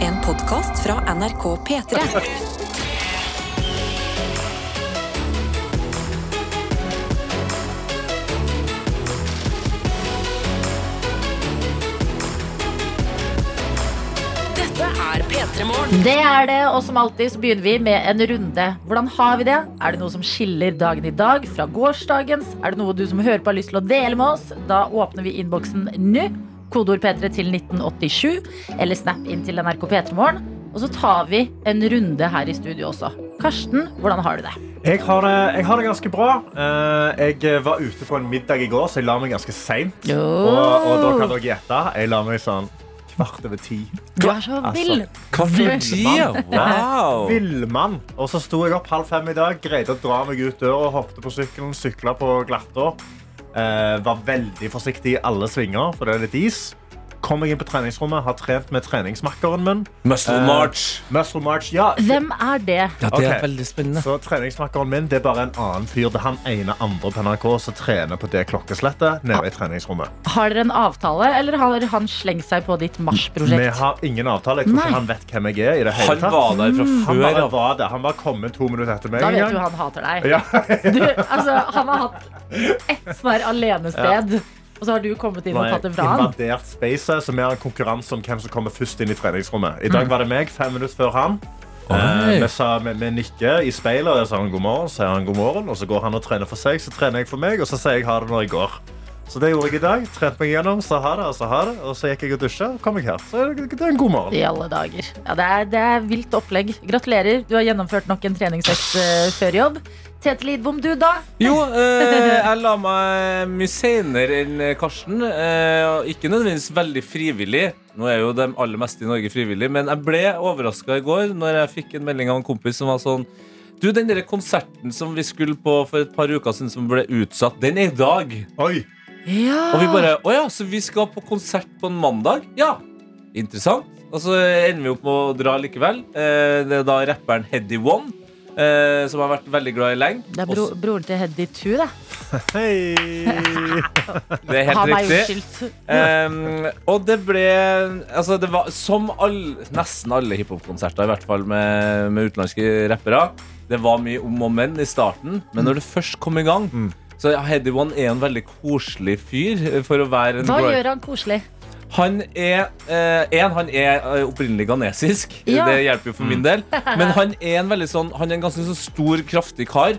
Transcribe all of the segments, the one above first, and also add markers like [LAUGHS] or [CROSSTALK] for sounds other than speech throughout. En podkast fra NRK P3. Dette er P3 Morgen. Det er det, og som alltid så begynner vi med en runde. Hvordan har vi det? Er det noe som skiller dagen i dag fra gårsdagens? Er det noe du som hører på har lyst til å dele med oss? Da åpner vi innboksen nå. Kodeord P3 til 1987, eller snap inn til NRK P3morgen. Og så tar vi en runde her i studio også. Karsten, hvordan har du det? Jeg har, det, jeg har det ganske bra. Eh, Jeg var ute på en middag i går, så jeg la meg ganske seint. Jo. Og, og da kan dere gjette. Jeg la meg sånn kvart over ti. Du er så vill. Wow! Villmann. Og så sto jeg opp halv fem i dag, greide å dra meg ut døra, hoppet på sykkelen, sykla på glattå. Eh, var veldig forsiktig i alle svinger, for det er litt is. Kom meg inn på treningsrommet, har trent med treningsmakkeren min. Muscle Eh, March. Muscle March, ja. Hvem er det? Ja, det Ok. er veldig spennende. Så treningsmakkeren min det er bare en annen fyr. Det er han ene andre på NRK som trener på det klokkeslettet nede i treningsrommet. Har dere en avtale, eller har han slengt seg på ditt Vi Mars-prosjekt? har ingen avtale. Jeg tror Nei. ikke han vet hvem jeg er. i det hele Han tatt. var der fra han før bare av. var det. Han var kommet to minutter etter meg. Da en vet du gang. han hater deg. Ja. [LAUGHS] Du, altså, han har hatt ett sånn her alenested, og så har du kommet inn og tatt det fra han. invadert spacet, så vi har en konkurranse om hvem som kommer først inn i treningsrommet. I Mm. dag var det meg, fem minutter før han. Eh, vi, sa, vi, vi nikker i speilet, og jeg sa han god morgen, så sier han god morgen. Og så går han og trener for seg, så trener jeg for meg, og så sier jeg ha det når jeg går. Så det gjorde jeg i dag. Trente meg gjennom, sa ha det, og så ha det. Og så gikk jeg og dusja, og kom jeg her. Så det det er en god morgen. I alle dager. Ja, det, er, det er vilt opplegg. Gratulerer. Du har gjennomført nok en treningsøkt eh, før jobb. Tete Lidbom, du da? Jo, eh, jeg la meg mye seinere enn Karsten. Eh, og ikke nødvendigvis veldig frivillig. Nå er jo de aller meste i Norge frivillig, men jeg ble overraska i går når jeg fikk en melding av en kompis som var sånn Du, den der konserten som vi skulle på for et par uker siden, som ble utsatt, den er i dag. Oi, Ja. Og vi bare Å ja, så vi skal på konsert på en mandag? Ja. Interessant. Og så ender vi opp med å dra likevel. Eh, Det er da rapperen Heddy One, eh, som jeg har vært veldig glad i lenge. Det er bro, Også- broren til Heddy Tu, det. [LAUGHS] hei. det er Han helt er riktig. unnskyldt. Um, og det ble Altså, det var som all, nesten alle hiphop-konserter, i hvert fall med, med utenlandske rappere. Det var mye om og men i starten, men Mm. når det først kom i gang Så Heddy One er en veldig koselig fyr for å være en Hva grind- gjør han koselig? Han er, eh, en, han er eh, opprinnelig ghanesisk. Ja. Det hjelper jo for min del. Men han er en, veldig sånn, han er en ganske sånn stor, kraftig kar.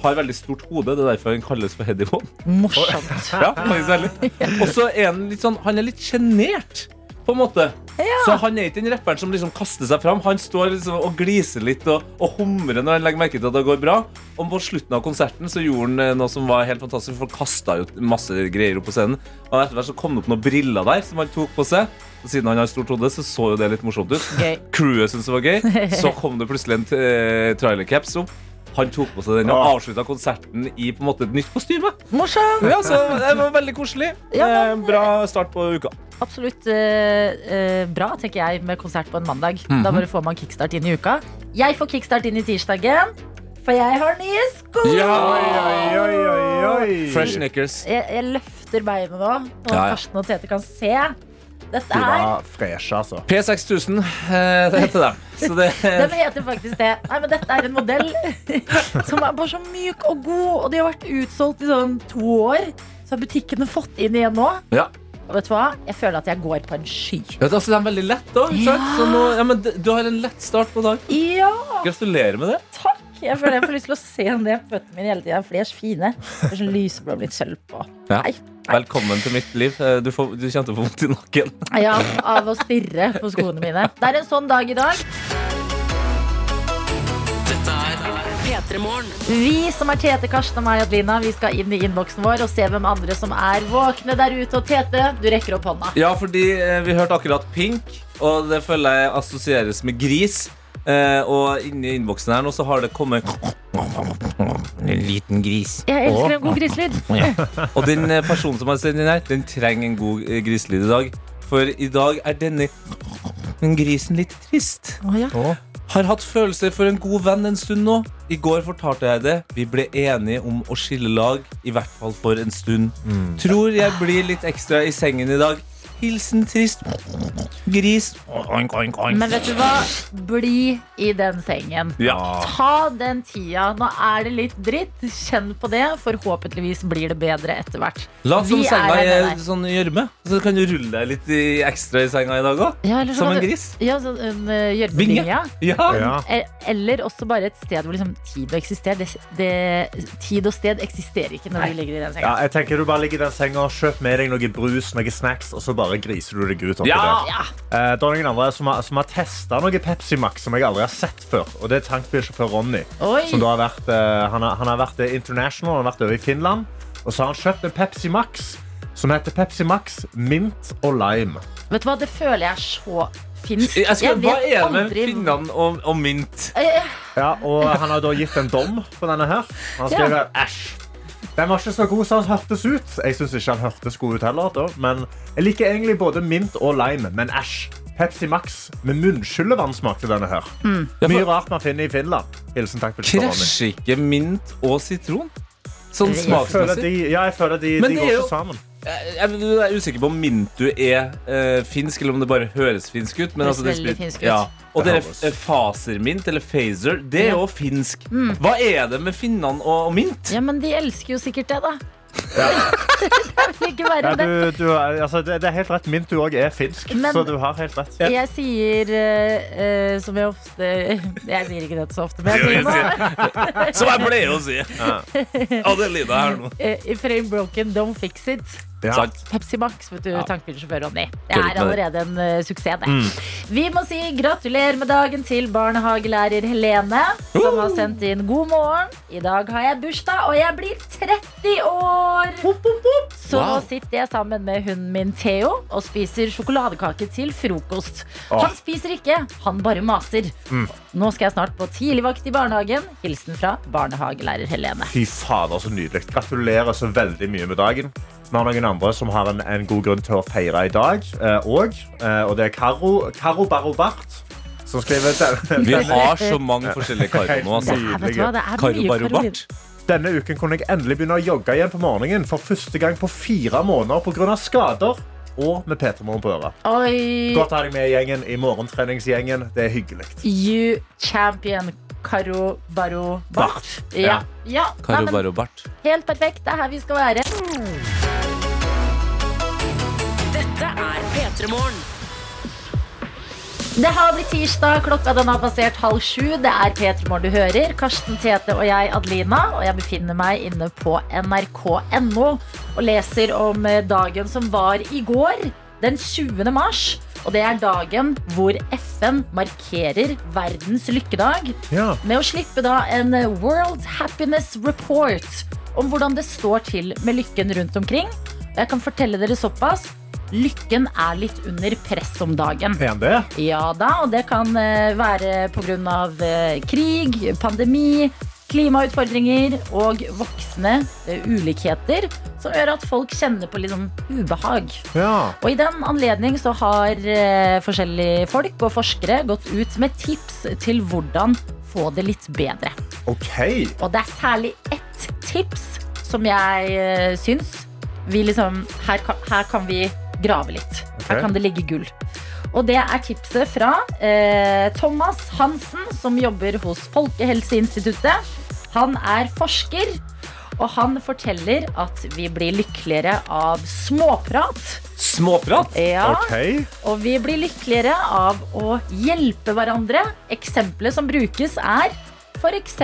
Har veldig stort hode. Det er derfor han kalles for Heddy One. Morsomt. [LAUGHS] Ja, faktisk veldig. Og så er han litt sånn Han er litt sjenert, på en måte. Så han er ikke den rapperen som liksom kaster seg fram. Han står liksom og gliser litt og, og humrer når han legger merke til at det går bra. Og på slutten av konserten så gjorde han eh, noe som var helt fantastisk. Folk kasta jo masse greier opp på scenen. Og etter hvert så kom det opp noen briller der som han tok på seg. Og siden han har stort hode, så så jo det litt morsomt ut. Gøy. Crewet syntes det var gøy. Så kom det plutselig en eh, trailercaps opp. Han tok på seg den og Ah. avslutta konserten i på en måte et nytt kostyme. Morsomt! Ja, så det var veldig koselig. Ja, Eh, Bra start på uka. Absolutt eh, eh, bra, tenker jeg, med konsert på en mandag. Mhm. Da bare får man kickstart inn i uka. Jeg får kickstart inn i tirsdagen, for jeg har nye sko! Oi, oi, oi, oi. Fresh knickers. Jeg, jeg løfter beinet nå, og Ja, ja. Karsten og Tete kan se. Dette De er var freshe, altså. P6000, eh, det heter dem. Så det den heter faktisk det. Nei, men Dette er en modell [LAUGHS] som er bare så myk og god. Og de har vært utsolgt i sånn to år. Så har butikkene fått inn igjen nå. ja. Og vet du hva? Jeg føler at jeg går på en sky. Vet du, altså, De er veldig lette òg. Så nå, ja, men d- du har en lett start på dagen. Ja, Gratulerer med det. takk! Jeg føler jeg får lyst til å se ned føttene mine hele tida, for de er så fine. Det er sånn lyseblå med litt sølv på. Ja. Nei. Velkommen til mitt liv. Eh, Du, får, du kommer til å få vondt i nakken. Ja, av å stirre på skoene mine. Det er en sånn dag i dag. P3 Morgen. Vi som er Tete, Karsten og meg og Adelina, vi skal inn i innboksen vår og se hvem andre som er våkne der ute. Og Tete, du rekker opp hånda. Ja, fordi eh, vi hørte akkurat Pink, og det føler jeg assosieres med gris. Eh, og inni innboksen her nå så har det kommet En liten gris. Jeg elsker en god griselyd. Og den eh, personen som har sendt den her, den trenger en god eh, griselyd i dag. For i dag er denne den grisen litt trist. Å, ja. Har hatt følelser for en god venn en stund nå. I går fortalte jeg det. Vi ble enige om å skille lag, i hvert fall for en stund. Tror jeg blir litt ekstra i sengen i dag. Hilsen trist. Gris. Oink, oink, oink. Men vet du hva? Bli i den sengen. Ja. Ta den tida. Nå er det litt dritt. Kjenn på det. Forhåpentligvis blir det bedre etter hvert. La oss som Vi er senga her er med deg. sånn gjørme. Så kan du rulle deg litt i ekstra i senga i dag òg. Ja, eller så Som kan en du- gris. Ja, sånn en eh, Vinge. gjørmebinge. ja. Ja. Ja. E- Eller også bare et sted hvor liksom tid og eksister. Det, det, tid og sted eksisterer ikke når du ligger i den senga. Ja, jeg tenker Du bare ligger i den senga, kjøp med deg noe brus noe snacks, og så bare griser du deg ut. oppi Ja. der. Eh, det er noen andre som har, som har testa noe Pepsi Max som jeg aldri har sett før. Og det er tankbilsjåfør Ronny. Oi. Som da har vært, eh, han, har, han har vært eh, international, han har vært over i Finland. Og så har han kjøpt en Pepsi Max som heter Pepsi Max Mint og Lime. Vet du hva, det føler jeg er så finsk. Jeg skal, hva vet er det med aldri- finnene og, og mynt? Eh, Ja, og han har da gitt en dom på denne her. Han skriver æsj. Den var ikke så god som han hørtes ut. Jeg synes ikke han hørtes god ut heller. Da. Men jeg liker egentlig både mint og lime, men æsj. Pepsi Max med munnskyllevann smakte denne her. Mm. Mye rart man finner i Finland. Hilsen takk for spørsmålet. Krasjer ikke mynt og sitron? Sånn Jeg føler at smaksmessig. de, ja, jeg føler at de, Men de det går er jo- ikke sammen. Jeg, jeg, jeg er usikker på om mintu er eh, finsk, eller om det bare høres finsk ut. Men Høres altså, det veldig spiller- finsk ut. Ja. Og det Det er høres. eh, fasermint, eller phaser, det er Ja. Mm. jo finsk. Hva er det med finnene og, og mynt? ja, men de elsker jo sikkert det, da. [LAUGHS] det vil ikke Ja, være det. du, du, altså, det, det er helt rett. Mint du òg er finsk, Men- så du har helt rett. Jeg sier eh, eh, som jeg ofte [LAUGHS] Jeg sier ikke dette så ofte, men jeg Jo, sier jeg det nå. Som jeg pleier å si. [LAUGHS] Adelina her nå. Eh, If it ain't broken, don't fix it. Ja. Sant? Pepsi Max, vet du, tankbilsjåfør Ronny. Det er Kødder ikke med det. Mm. allerede en eh, suksess, det. Vi må si gratulerer med dagen til barnehagelærer Helene, som har sendt inn god morgen. I dag har jeg bursdag, og jeg blir 30 år! Så Wow. nå sitter jeg sammen med hunden min Theo og spiser sjokoladekake til frokost. Åh. Ah. Han spiser ikke, han bare maser. Mm. Nå skal jeg snart på tidligvakt i barnehagen. Hilsen fra barnehagelærer Helene. Fy fader, så nydelig. Gratulerer så veldig mye med dagen. Vi har noen andre som har en, en god grunn til å feire i dag eh, òg. Eh, og det er Karo, Karo Barobart som skriver den. Vi har så mange forskjellige karer nå. Det Altså. er, vet du hva, det er Karo mye Karoline. Barobart. Denne uken kunne jeg endelig begynne å jogge igjen på morgenen for første gang på fire måneder pga. skader. Og med P3morgen på øret. Oi, Godt å ha deg med i gjengen i morgentreningsgjengen. Det er hyggelig. you champion Karo Baro Bart. Bart, Ja. ja. Nei, Karo men Barobart. helt perfekt. Det er her vi skal være. Dette er P3 Morgen. Det har blitt tirsdag, klokka den har passert halv sju. Det er Peter Morgen du hører. Karsten Tete og jeg, Adelina. Og jeg befinner meg inne på nrk.no og leser om eh, dagen som var i går, den 20. mars. Og det er dagen hvor FN markerer verdens lykkedag. Ja. med å slippe da en eh, World Happiness Report om hvordan det står til med lykken rundt omkring. Og jeg kan fortelle dere såpass. Lykken er litt under press om dagen. Er han det? Ja da, og det kan eh, være pga. eh, krig, pandemi, klimautfordringer og voksende eh, ulikheter som gjør at folk kjenner på litt sånn ubehag. Ja. Og i den anledning så har eh, forskjellige folk og forskere gått ut med tips til hvordan få det litt bedre. OK. Og det er særlig ett tips som jeg eh, syns vi liksom, her, kan, her kan vi grave litt. Ok. Her kan det ligge gull. Og det er tipset fra eh, Thomas Hansen, som jobber hos Folkehelseinstituttet. Han er forsker, og han forteller at vi blir lykkeligere av småprat. Småprat? Ja. OK. Og vi blir lykkeligere av å hjelpe hverandre. Eksempelet som brukes er f.eks.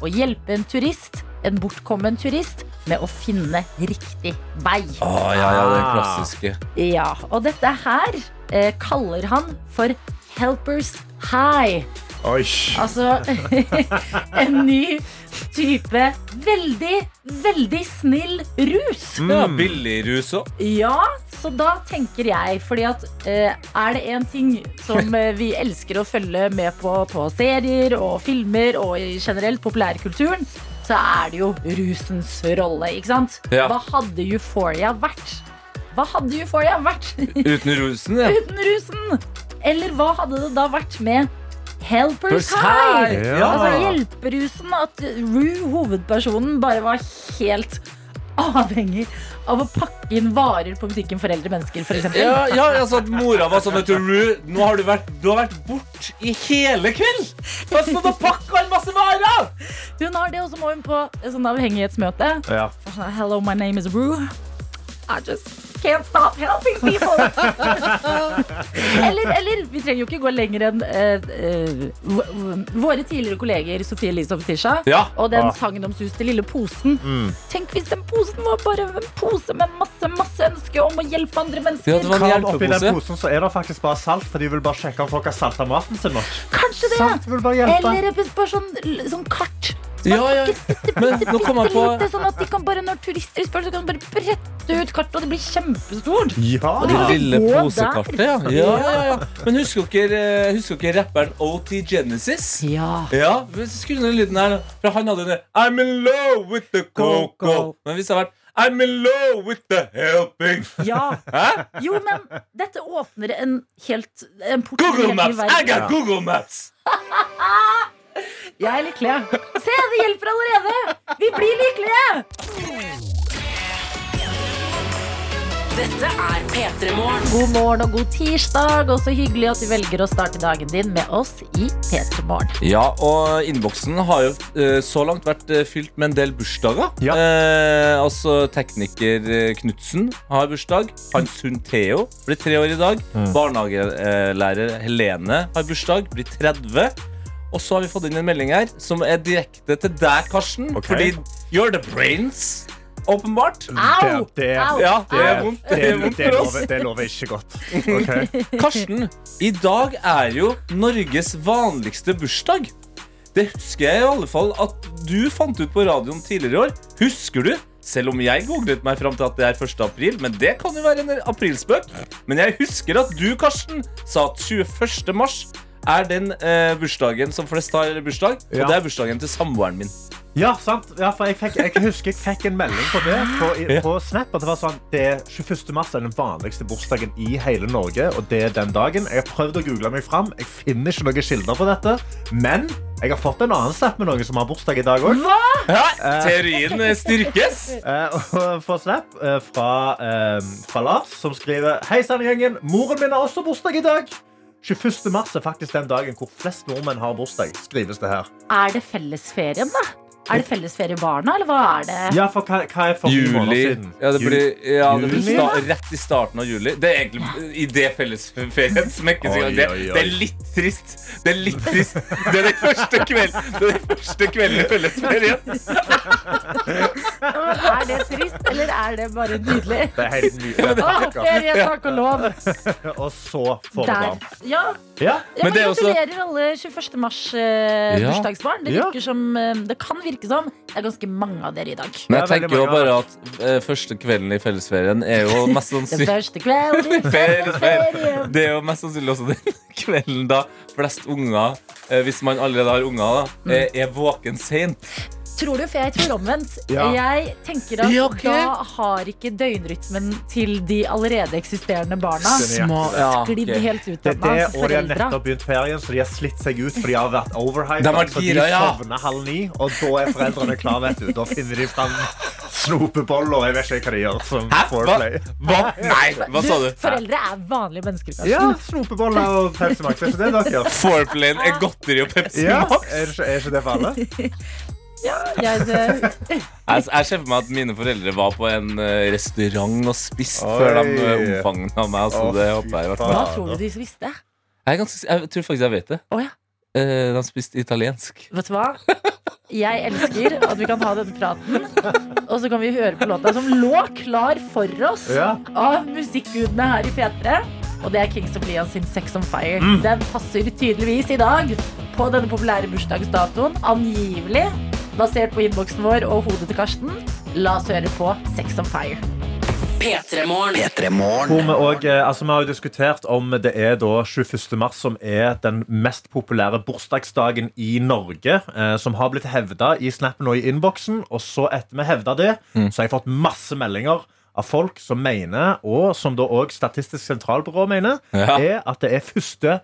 å hjelpe en turist, en bortkommen turist, med å finne riktig vei. Å, ja, ja, det Ah. klassiske. Ja, og dette her eh, kaller han for Helpers High. Oi. Altså [LAUGHS] en ny type veldig, veldig snill rus. Ja, Billigrus òg. Ja, så da tenker jeg, fordi at eh, er det en ting som eh, vi elsker å følge med på på serier og filmer og i generelt populærkulturen, så er det jo rusens rolle, ikke sant? Ja. Hva hadde Euphoria vært? Hva hadde Euphoria vært [LAUGHS] Uten rusen, ja. uten rusen? Eller hva hadde det da vært med Helpers High? High, Ja. Altså hjelperusen, at Rue, hovedpersonen, bare var helt avhengig av å pakke inn varer på butikken for eldre mennesker, f.eks. Ja, ja, altså at mora var sånn vet du, Ru, Nå har du vært, du har vært bort i hele kveld Du har stått og pakket en masse varer Hun har det, og så må hun på et sånn avhengighetsmøte. Ja. Uh, Hello, my name is Rue. I just can't stop helping [LAUGHS] people. eller, eller, vi trenger jo ikke gå lenger enn eh, eh, v- v- våre tidligere kolleger Sofie Elise og Fetisha. Ja. Mm. Og den Ah. sagnomsuste lille posen. Tenk hvis den posen var bare en pose med masse masse ønske om å hjelpe andre Ja, mennesker. det var- En Kram oppi den hjelpepose. posen så er det faktisk bare salt, for de vil bare sjekke om folk har salta maten sin nok. Kanskje det. Salt vil bare hjelpe. Eller et bare sånn, l- sånn kart. Ja, ja Men nå kom jeg på Lite, sånn at de kan bare, når turister spør, så kan de bare brette ut kartet, og det blir kjempestort. det Ja! lille Gå der. posekartet, ja. Ja, ja, ja. Men husker dere, eh, husker dere rapperen O.T. Genesis? Ja. Ja, skru ned lyden her. For han hadde jo det I'm in love with the coco. Men hvis det hadde vært I'm in love with the helping. Ja. Hæ? Jo, men dette åpner en helt en port til en Google helt ny Maps! verden. I got Google Maps! Jeg er lykkelig. Se, det hjelper allerede! Vi blir lykkelige! Dette er P3 Morgen. God morgen og god tirsdag, og så hyggelig at du velger å starte dagen din med oss i P3 Morgen. Ja, og innboksen har jo eh, så langt vært eh, fylt med en del bursdager. Ja. Eh, altså tekniker eh, Knutsen har bursdag. Hans hund Theo blir tre år i dag. Barnehagelærer Helene har bursdag, blir 30. Og så har vi fått inn en melding her som er direkte til deg, Karsten. Ok. Fordi you're the brains, åpenbart. Au! Det- det- Au! Ja, det er Det- vondt. det- Det er vondt det for oss. lover- Det lover ikke godt. Ok. Karsten, i dag er jo Norges vanligste bursdag. Det husker jeg i alle fall at du fant ut på radioen tidligere i år. Husker du? Selv om jeg googlet meg fram til at det er 1. april, men det kan jo være en aprilspøk. Men jeg husker at du, Karsten, sa at 21. mars er den eh, bursdagen som flest har bursdag, Ja. og det er bursdagen til samboeren min. Ja, sant. Ja, for jeg, fikk, jeg husker jeg fikk en melding på det på, i- Ja. på Snap. At det var sånn Det er 21. mars er den vanligste bursdagen i hele Norge, og det er den dagen. Jeg har prøvd å google meg fram. Jeg finner ikke noen kilder på dette. Men jeg har fått en annen snap med noen som har bursdag i dag òg. Hæ? Teorien eh, styrkes. Eh, [LAUGHS] og får snap eh, fra, eh, fra Lars, som skriver Hei sann, gjengen. Moren min har også bursdag i dag. 21. mars er faktisk den dagen hvor flest nordmenn har bursdag. skrives det her. Er det fellesferien, da? Er det fellesferiebarna, eller hva er det? Ja, for hva, hva er for ni måneder Juli. siden? Ja, det blir, ja, det blir Juli, sta rett i starten av juli. Det er egentlig i det fellesferien smekkes i gang. Oi, Det, oi, oi. det er litt trist. Det er litt trist. Det er den første kvelden, det er den første kvelden i fellesferien. Er det trist, eller er det bare nydelig? Det er helt [LAUGHS] ny. Å, ferie, takk og lov. Og så får du Der. barn. Ja, Ja. Ja, Men men det er også- Gratulerer alle 21. mars-bursdagsbarn. Ja. Eh, bursdagsbarn. Det, Ja. virker som, eh, det kan virke som det er ganske mange av dere i dag. Men jeg tenker jo bare at eh, første kvelden i fellesferien er jo mest Den første kvelden i ferie. Det er jo mest sannsynlig også den kvelden da flest unger, eh, hvis man allerede har unger, da, eh, er våken seint. Tror du, for jeg tror omvendt. Ja. Jeg tenker at Ja, ok. da har ikke døgnrytmen til de allerede eksisterende barna Den er- glidd helt ut Det er ennå. det, altså og de har Foreldra. nettopp begynt ferien, så de har slitt seg ut. For de har vært overhyped. De har vært så de gira, ja. sovner halv ni, og da er foreldrene klare. vet du. Da finner de fram snopeboller. Jeg vet ikke hva de gjør. som Hæ? Hva? foreplay. Hva? Nei, hva sa du? Foreldre er vanlige mennesker. altså. Karsten. Ja, snopeboller og Pepsi Max. Er ikke det dere gjør? Foreplayen er godteri og Pepsi Ja, Max. er, ikke, er ikke det for alle? Jeg, eh, Jeg, jeg ser for meg at mine foreldre var på en eh, restaurant og spiste Oi. før de eh, omfagna meg. Altså, Å, det fy håper jeg i faen. hvert fall. hva tror du de visste? Jeg, er ganske, jeg tror faktisk jeg vet det. Å, ja. Eh, de spiste italiensk. Vet du hva? Jeg elsker at vi kan ha denne praten. Og så kan vi høre på låta som lå klar for oss Ja. av musikkgudene her i P3. Og det er Kings of Leon sin Sex on Fire. Mm. Den passer tydeligvis i dag på denne populære bursdagsdatoen. Angivelig basert på innboksen vår og hodet til Karsten. La oss høre på Sex on Fire. P3 Morgen. Hvor vi, og, eh, altså, vi har jo diskutert om det er da 21. mars som er den mest populære bursdagsdagen i Norge. Eh, som har blitt hevda i snappen og i innboksen. Og så etter vi hevda det, så har jeg fått masse meldinger av folk som mener, og som da òg Statistisk sentralbyrå mener, Ja. er at det er 1.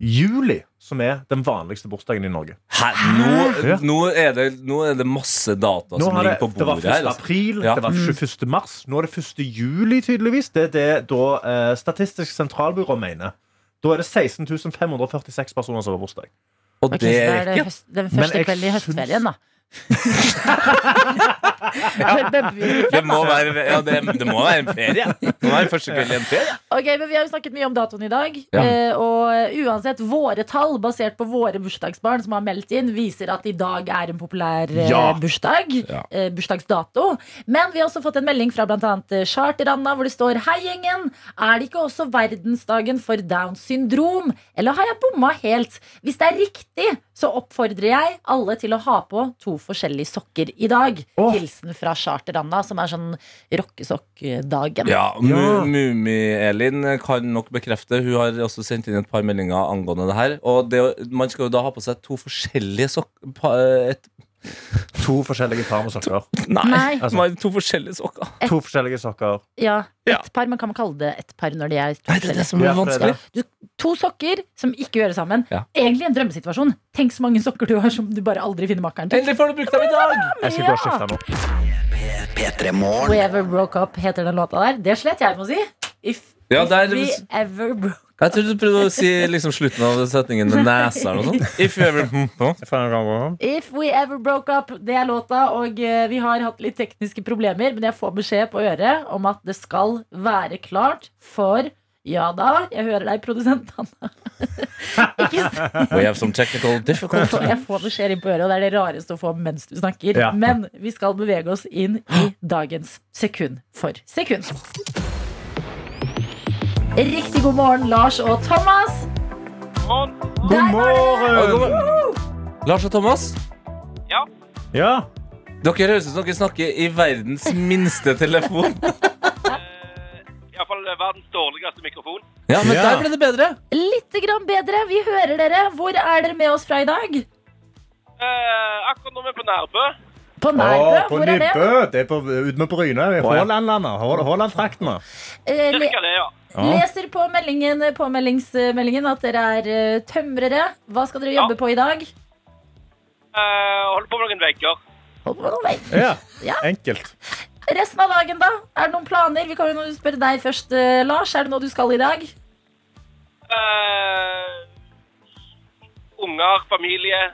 juli som er den vanligste bursdagen i Norge. Hæ? Nå, nå, er det, nå er det masse data Nå som har det, ligger på det var 1. bordet her. altså. april, Ja. det var Mm. 21. mars. Nå er det 1. juli, tydeligvis. Det er det da eh, Statistisk sentralbyrå mener. Da er det 16 546 personer som har bursdag. Og Ok, det så er det ikke høst, den Men første jeg kvelden i syns- høstferien, [LAUGHS] da. Det bør vi- det må, være, ja, det, det må være [LAUGHS] en ferie. Det må være første kveld i en ferie. Ok, men Vi har jo snakket mye om datoen i dag. Ja. eh, Og uansett, våre tall basert på våre bursdagsbarn som har meldt inn, viser at i dag er en populær eh, Ja. bursdag. Ja. eh, Bursdagsdato. Men vi har også fått en melding fra bl.a. Charteranda hvor det står Hei, gjengen. Er det ikke også verdensdagen for Downs syndrom? Eller har jeg bomma helt? Hvis det er riktig, så oppfordrer jeg alle til å ha på to forskjellige sokker i dag. Åh. Hilsen fra Charteranda, som er sånn rockesokkdagen. Ja, Ja. Mu- Mummi-Elin kan nok bekrefte. Hun har også sendt inn et par meldinger angående det her. Og det, å- man skal jo da ha på seg to forskjellige sokker pa, eh, et, To forskjellige tarmsokker. Nei. Nei. man- To forskjellige sokker. To forskjellige sokker. Ja, Ja. ett par, men kan man kalle det ett par når de er to Nei, det er det forskjellige? som blir Ja, for det er vanskelig. To sokker som ikke gjør det sammen. Ja. Egentlig en drømmesituasjon. Tenk så mange sokker du har som du bare aldri finner makkeren til. Endelig får du brukt dem i dag! Jeg skal gå Ja. og skifte nå. We Ever Broke Up heter den låta der. Det slet jeg med å si. If, Ja, if det er- we ever broke Jeg trodde du prøvde å si liksom slutten av setningen med nesa eller noe sånt. If you ever Hm, If we ever broke up, det er låta, og eh, vi har hatt litt tekniske problemer, men jeg får beskjed på øret om at det skal være klart for Ja da, jeg hører deg, produsent Anna. ikke si We have some technical Jeg difficulties. får- Jeg får beskjed inn på øret, og det er det rareste å få mens du snakker. Ja. Men vi skal bevege oss inn i dagens sekund for sekund. Riktig god morgen, Lars og Thomas. God Der var det! Og god morgen! morgen. Lars og Thomas, Ja. dere høres ut som dere snakker i verdens minste telefon. Iallfall verdens dårligste mikrofon. Ja, men Ja. der ble det bedre. Litt grann bedre. Vi hører dere. Hvor er dere med oss fra i dag? Eh, akkurat nå er vi på Nærbø. På Å, Nærbø. på Hvor er det? Nibbø. Det er på, ute med Bryne. i Haalandlandet. Hå- Haaland-traktene. Eh, le- Cirka det, ja. Leser på meldingen, påmeldingsmeldingen at dere er eh, tømrere. Hva skal dere Ja. jobbe på i dag? Eh, holder på med noen vegger. Hold på noen vei. Ja. Ja. Enkelt. Resten av dagen, da? Er det noen planer? Vi kan jo nå spørre deg først, eh, Lars. Er det noe du skal i dag? Eh, unger, familie,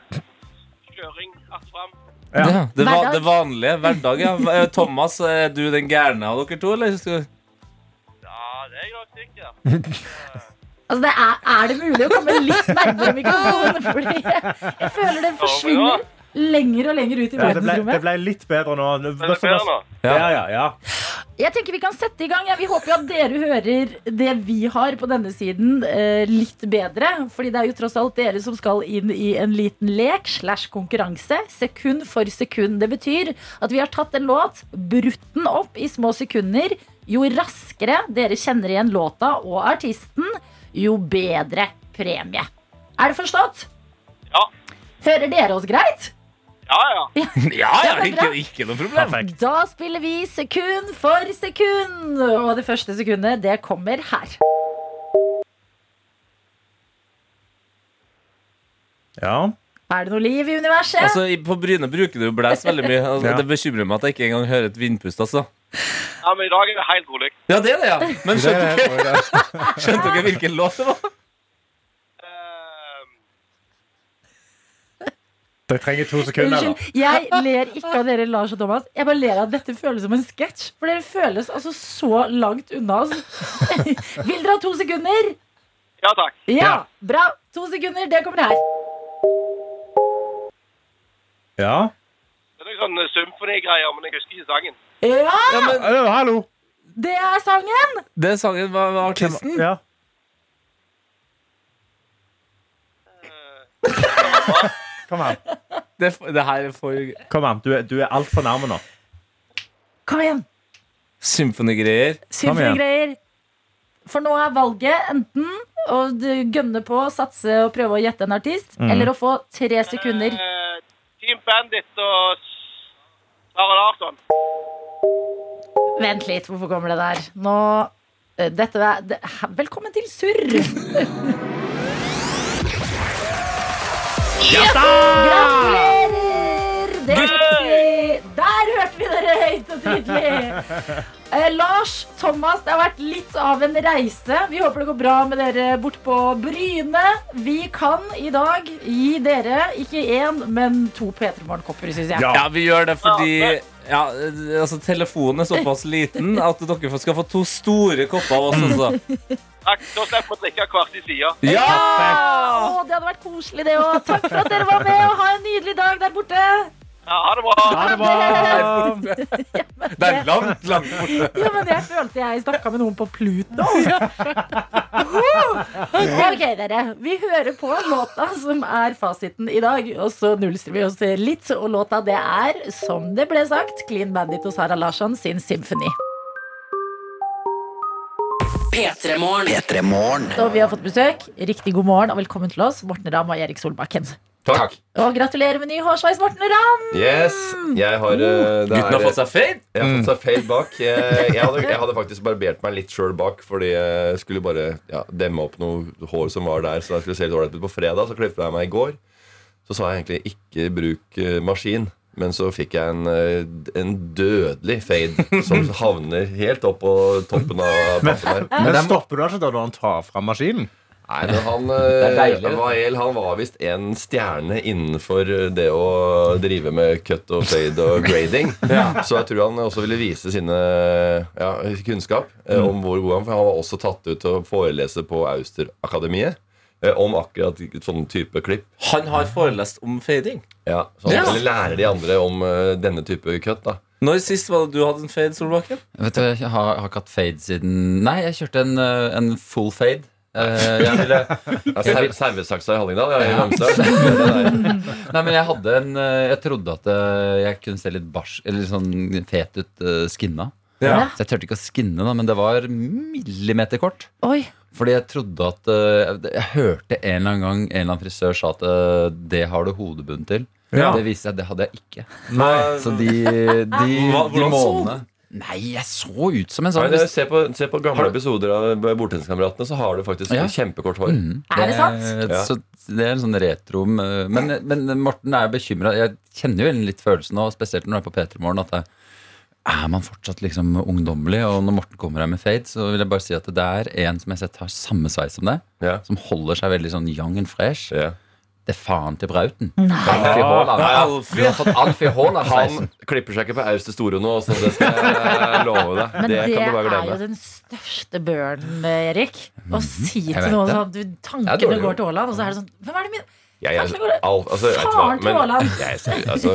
kjøring att fram. Ja, det, var, Hverdag. det vanlige. Hverdag, ja. Eh, Thomas, er du den gærne av dere to, eller? Skal- Ja, det er jeg nok sikker. Altså, det er, er det mulig å komme litt nærmere mikrofonen? Fordi jeg, jeg føler det forsvinner lenger og lenger ut i Ja, det, ble, det verdensrommet. ble litt bedre nå. Men det er bedre nå. Ja, ja, ja. Jeg tenker Vi kan sette i gang. Ja. Vi håper jo at dere hører det vi har på denne siden, eh, litt bedre. Fordi det er jo tross alt dere som skal inn i en liten lek slash konkurranse. Sekund for sekund. Det betyr at vi har tatt en låt, brutt den opp i små sekunder. Jo raskere dere kjenner igjen låta og artisten, jo bedre premie. Er det forstått? Ja. Hører dere oss greit? Ja, ja. Ja, ja, Ja, men bra. ikke, ikke noe problem. Da spiller vi sekund for sekund. Og det første sekundet, det kommer her. ja. Er det noe liv i universet? Altså, i- På Bryne bruker du jo blæs veldig mye. Altså, Ja. Det bekymrer meg at jeg ikke engang hører et vindpust. altså ja men i dag er det helt rolig. Ja, det er det, ja. Men Det skjønte er helt dere, bra, det. skjønte dere hvilken låt det var? Eh, Jeg trenger to sekunder, eller? Unnskyld, jeg ler ikke av dere, Lars og Thomas. Jeg bare ler av at dette føles som en sketsj. For dere føles altså så langt unna oss. [LAUGHS] Vil dere ha to sekunder? ja takk. Ja, Ja. bra. To sekunder, det kommer her. Ja. Det er noen sånne symfonigreier, men jeg husker ikke sangen. Ja, Ø, Eh, hallo. det er sangen! Det sangen var, var artisten. Ja. Kom an. Det, det her er for Kom an. Du er, du er altfor nærme nå. Kom igjen. symfonigreier. Symfonigreier. For nå er valget enten å d- gønne på, satse og prøve å gjette en artist, eller å få tre sekunder. Eh, Team Bandit og Sara Larsson. Vent litt, hvorfor kommer det der? Nå eh, dette er, det, hæ, Velkommen til surr! Gratulerer! Det er riktig. Der hørte vi dere høyt og tydelig. Eh, Lars, Thomas, det har vært litt av en reise. Vi håper det går bra med dere bort på Bryne. Vi kan i dag gi dere ikke én, men to P3 Morgen-kopper, syns jeg. Ja. Ja, vi gjør det fordi ja, altså, telefonen er såpass liten at dere får- skal få to store kopper av oss [LAUGHS] også. Takk, Da slipper vi å drikke hvert i sida. Ja! Å, det hadde vært koselig, det òg. Takk for at dere var med, og ha en nydelig dag der borte. Ja, ha det bra. Ha det bra! Det er langt, langt borte. Jo, men jeg følte jeg snakka med noen på [LAUGHS] Pluto. ok, dere. Vi hører på låta som er fasiten i dag, og så nullstiller vi oss litt. Og låta det er, som det ble sagt, Clean Bandit og Sara Larsson sin Symphony. P3 Morgen. Og vi har fått besøk. Riktig god morgen og velkommen til oss, Morten Ramm og Erik Solbakken. Takk. Og gratulerer med ny hårsveis, Morten Ramm! Yes, jeg har eh, det Gutten har er- fått seg fade. Jeg har fått seg feil bak. Jeg, jeg, hadde, jeg hadde faktisk barbert meg litt sjøl bak, fordi jeg skulle bare ja, demme opp noe hår som var der. Så jeg skulle se litt ålreit ut på fredag, så klippet jeg meg i går. Så sa jeg egentlig 'ikke bruk eh, maskin', men så fikk jeg en, eh, en dødelig fade som havner helt opp på toppen av pappen der. Men stopper du ikke da når han tar fram maskinen? Nei, men han eh, deilig, vet du. Wael, han var visst en stjerne innenfor eh, det å drive med cut og fade og grading. Så jeg tror han også ville vise sine ja, kunnskap eh, om hvor god han For han var også tatt ut til å forelese på Austerakademiet eh, om akkurat sånn type klipp. Han har forelest om fading. Ja, så han Ja. skulle lære de andre om eh, denne type cut. da Når sist var det du hadde en fade, Solbakken? Vet du, jeg har, har ikke hatt fade siden Nei, jeg kjørte en, eh, en full fade. Eh, jeg ville, ja, sau- Sauesaksa i Hallingdal, ja. i Ramsdal. nei, men jeg hadde en eh, Jeg trodde at eh, jeg kunne se litt bars Eller sånn fet ut eh, skinna. Ja. Så jeg turte ikke å skinne, da, men det var millimeterkort. Oi. Fordi jeg trodde at eh, Jeg hørte en eller annen gang en eller annen frisør sa at eh, det har du hodebunn til. Ja. Det viste seg at det hadde jeg ikke. Nei. Så de, de, Hva- de hvordan så du? månedene Nei, jeg så ut som en Nei, sånn det- eh, Se på, se på gamle episoder av Bordtenniskameratene, så har du faktisk Ja. kjempekort hår. Er det sant? Ja. Eh, Så det er en sånn retro Men, men Morten er bekymra. Jeg kjenner jo litt følelsen nå, spesielt når du er på P3 Morgen, at det, er man fortsatt liksom ungdommelig? Og når Morten kommer her med fade, så vil jeg bare si at det er en som jeg har sett har samme sveis som deg, Ja. som holder seg veldig sånn young and fresh. Ja. Det er faen til Brauten. Alfie Haaland. Nei, Du har fått Alfie Haaland-sveisen. Han klipper seg ikke på Auster Store nå, så det skal jeg eh, love deg. Men det, det kan du er bare jo glemme. Mhm. den største børen, Erik. Å si jeg til vet noen det. sånn du, Det er Tankene dårlig. går til Haaland, og så er det sånn Hvem er det min Jeg, jeg, Kanskje går det- al- altså, vet du hva, Faren til men- Haaland. Jeg ser- altså,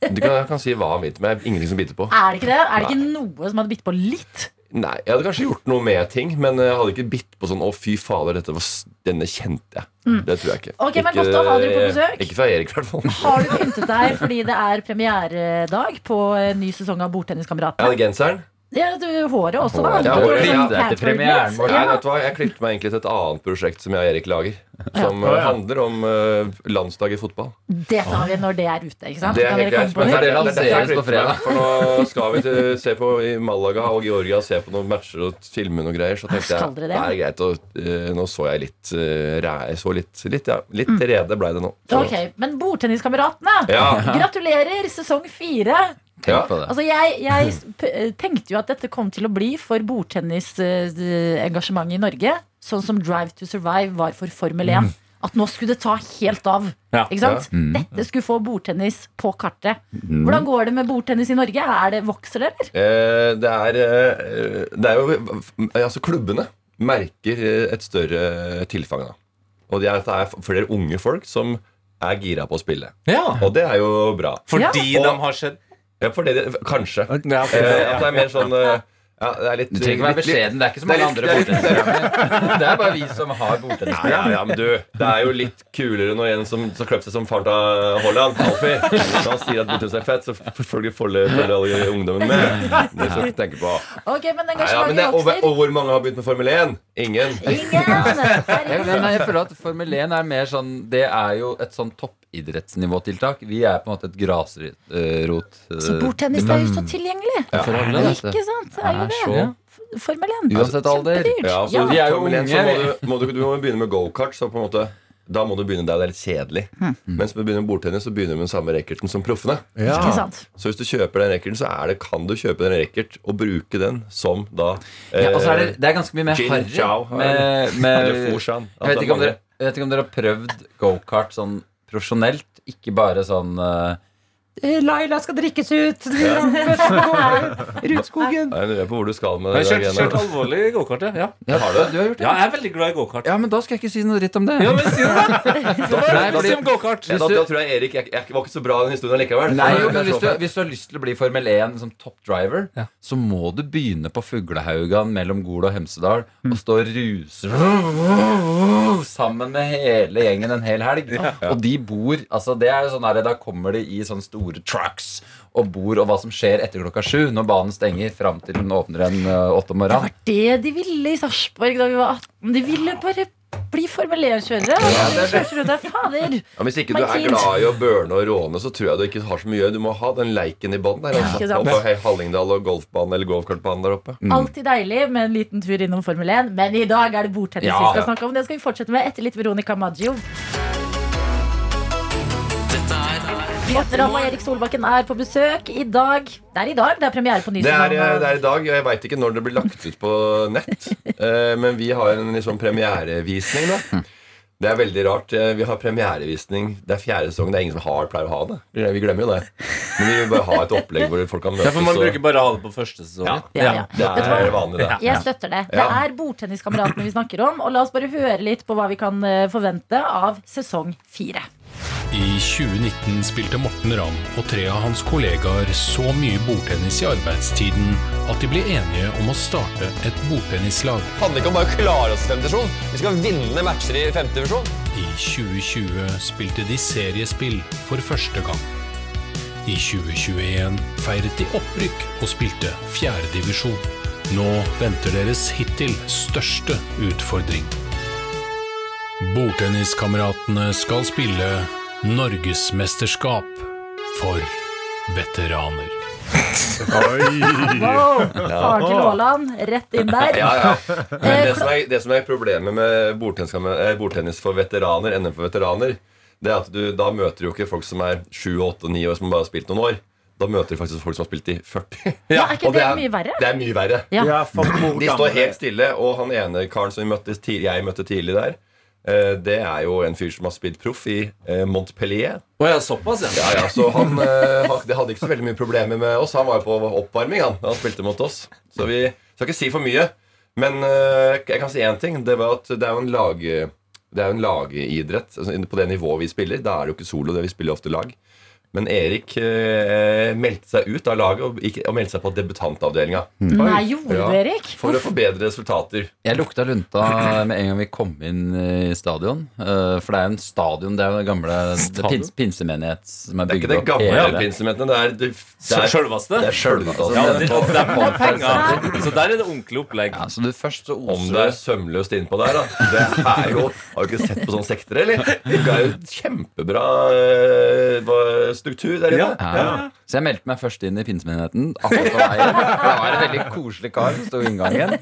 Du kan, jeg kan si hva han vil til meg. Ingenting som biter på. Er det ikke det? Er det ikke noe som hadde bitt på litt? Nei, Jeg hadde kanskje gjort noe med ting, men jeg hadde ikke bitt på sånn 'Å, fy fader, dette var, s- denne kjente jeg'. Det tror jeg ikke. Mm. Ok, men ikke, godt å ha dere på besøk. Ikke fra Erik, i hvert fall. Jeg Har du pyntet deg fordi det er premieredag på en ny sesong av Bordtenniskameratene? hadde genseren. Ja, du, håret også, da. Håret, ja, Du har håret, sånn ja, det er til pampered premieren litt. vår. Nei, Ja. vet du hva? Jeg klippet meg egentlig til et annet prosjekt som jeg og Erik lager. Som Ja. eh, handler om eh, landslag i fotball. Det tar vi når det er ute, ikke sant? Det er Kan helt dere greit. komme på men det? det? det er- det er derfor jeg Lanseres på klipper meg, fredag. For nå skal vi til, se på i Malaga og Georgia se på noen matcher og filme noen greier. Så tenkte Skal jeg dere det det? er greit. Og, eh, nå så jeg litt eh, ræ- Jeg så litt, litt, ja, litt rede ble det nå. Så- Ok, Men Bordtenniskameratene, [LAUGHS] Ja. gratulerer! Sesong fire. Ja. Tenk på det. Altså, jeg, jeg s- p eh, tenkte jo at dette kom til å bli for bordtennisengasjementet i Norge, sånn som Drive to Survive var for Formel 1. At nå skulle det ta helt av. Ja. Ikke sant? Dette skulle få bordtennis på kartet. Hvordan går det med bordtennis i Norge? Er det Vokser det, eller? Eh, det er eh, Det er jo eh, Altså, klubbene merker eh, et større tilfang da. Og det er, at det er flere unge folk som er gira på å spille. Ja. Og det er jo bra. Fordi Ja. de har skjedd Ja, for det, kanskje. ja, Eh, at det er mer sånn eh, ja, det er litt, Du trenger ikke være litt- litt- beskjeden. Det er ikke så det er mange litt- andre bordtennisprogrammer. Det er bare vi som har bordtennis. Ja, ja, ja, men du, det er jo litt kulere når en som som kløp seg som faren til Haaland, Alfie, når han sier at Botums er fett, så følger følger alle ungdommen med. Det skal du ikke tenke på. Ok, men Nei, ja, men engasjementet det, er- og, vokser. og hvor mange har begynt med Formel 1? Ingen. Ingen! Jeg, men jeg føler at Formel 1 er mer sånn Det er jo et sånn toppidrettsnivåtiltak. Vi er på en måte et grasrot. eh, Så bordtennis det er jo så tilgjengelig. for alle, vet Ikke du. sant? Det er Det jo er det. så- F- Formel 1. Uansett alder. Kjempedyrt. Ja, så Vi er jo Formel 1, så unge. må du, må du, du må begynne med gokart, så på en måte Da må du begynne der det er litt kjedelig. Hmm. Mens når du begynner med bordtennis, så begynner du med den samme racketen som proffene. Ikke sant? Så hvis du kjøper den racketen, så er det, kan du kjøpe den racket og bruke den som da eh, Ja, og så er det, det er ganske mye mer Gin, harry. chow, Med, med, [LAUGHS] eller altså, Fushan. jeg, vet ikke om dere, jeg vet ikke om dere har prøvd gokart sånn profesjonelt. Ikke bare sånn eh, «Eh, Laila skal drikkes ut! Rutskogen! Jeg lurer på hvor du skal med det. Jeg har kjørt, der kjørt greiene. alvorlig gokart, ja. ja. Ja, du, du har gjort det? Ja, jeg er veldig glad i gokart. Ja, men da skal jeg ikke si noe dritt om det. Ja, men si det, da! Det var Nei, rett fordi- som gokart. Ja, da, da tror jeg Erik jeg, jeg var ikke så bra i den historien likevel. Nei, jo, men hvis du, hvis du har lyst til å bli Formel 1 som toppdriver, så må du begynne på Fuglehaugan mellom Gol og Hemsedal og stå og ruse sammen med hele gjengen en hel helg. Og de bor altså det er jo sånn her, Da kommer de i sånne store trucks og bor, og hva som skjer etter klokka sju når banen stenger fram til den åpner en ø, åtte om morgenen. Det de ville i Sarpsborg da vi var 18 De ville bare bli Formel 1-kjørere. De kjørte rundt der, fader. Ja, hvis ikke du er Martin. glad i å burne og råne, så tror jeg du ikke har så mye. Du må ha den leiken i bånn der. Ikke Altså. sant. Oppe på Hallingdal og golfbanen eller golfkartbanen der oppe. Alltid deilig med en liten tur innom Formel 1. Men i dag er det bordtennis Ja. vi skal snakke om. Det skal vi fortsette med etter litt Veronica Maggio. Petter Ann og Erik Solbakken er på besøk i dag. Det er i dag. Det er premiere på Det er, eh, det Nysesongen. er i dag. og Jeg veit ikke når det blir lagt ut på [LAUGHS] nett. eh, Men vi har en liksom premierevisning, Hmm. da. Det er veldig rart. eh, Vi har premierevisning. Det er fjerde sesong. Det er ingen som har pleier å ha det. Vi glemmer jo det. Men vi vil bare ha et opplegg hvor folk [LAUGHS] kan møtes. Derfor man og- bruker bare å ha det på første sesongen. Ja, ja. Det er vanlig, det. Jeg støtter det. Det Ja. er bordtenniskameratene vi snakker om. Og la oss bare høre litt på hva vi kan eh, forvente av sesong fire. I 2019 spilte Morten Ramm og tre av hans kollegaer så mye bordtennis i arbeidstiden at de ble enige om å starte et bordtennislag. handler ikke om bare å klare oss i femte divisjon. Vi skal vinne matcher i femte divisjon. I 2020 spilte de seriespill for første gang. I 2021 feiret de opprykk og spilte fjerdedivisjon. Nå venter deres hittil største utfordring. Bordtenniskameratene skal spille Norgesmesterskap for veteraner. Wow! Faren til Aaland, rett inn der. [LAUGHS] Ja, ja. Men det som er, det som er problemet med bordtennis, eh, bordtennis for veteraner, NM for veteraner, det er at du, da møter du jo ikke folk som er 7, 8, 9 år som bare har spilt noen år. Da møter du faktisk folk som har spilt i 40. Ja, er ikke Og det mye verre? Det er mye verre. [LAUGHS] Ja, for hvor De står gammel- helt stille, og han ene karen som vi møtte, ti- jeg møtte tidlig der, eh, det er jo en fyr som har spilt proff i eh, Montpellier. Å ja, såpass, ja. Ja, ja, så han eh, ha- det hadde ikke så veldig mye problemer med oss. Han var jo på oppvarming, han. Han spilte mot oss. Så vi skal ikke si for mye. Men eh, jeg kan si én ting. Det var at det er jo en lag... Det er jo en lagidrett. Altså, på det nivået vi spiller, da er det jo ikke solo. det Vi spiller ofte lag. Men Erik eh, meldte seg ut av laget og, gikk- og meldte seg på debutantavdelinga. Eh, Nei, gjorde Ja. du, Erik? For å få bedre resultater. Jeg lukta lunta med en gang vi kom inn i stadion. eh, For det er jo en stadion, det er jo den gamle det pins, pinsemenighet som er Det er bygd ikke det opp gamle hele- pinsementene. Det er, det, det er, Sjølveste? det er altså. sjølvutdannelse. Ja, det, og der var det penger. Så der er det ordentlig opplegg. Ja, så du først så Om Altså, oser det er sømløst innpå der, da. Det er jo, Har du ikke sett på sånne sekter, eller? Det er jo kjempebra eh, hva- struktur der inne. Ja. Så jeg meldte meg først inn i pinsemenigheten. akkurat på vei inn. For Det var en veldig koselig kar som sto i inngangen.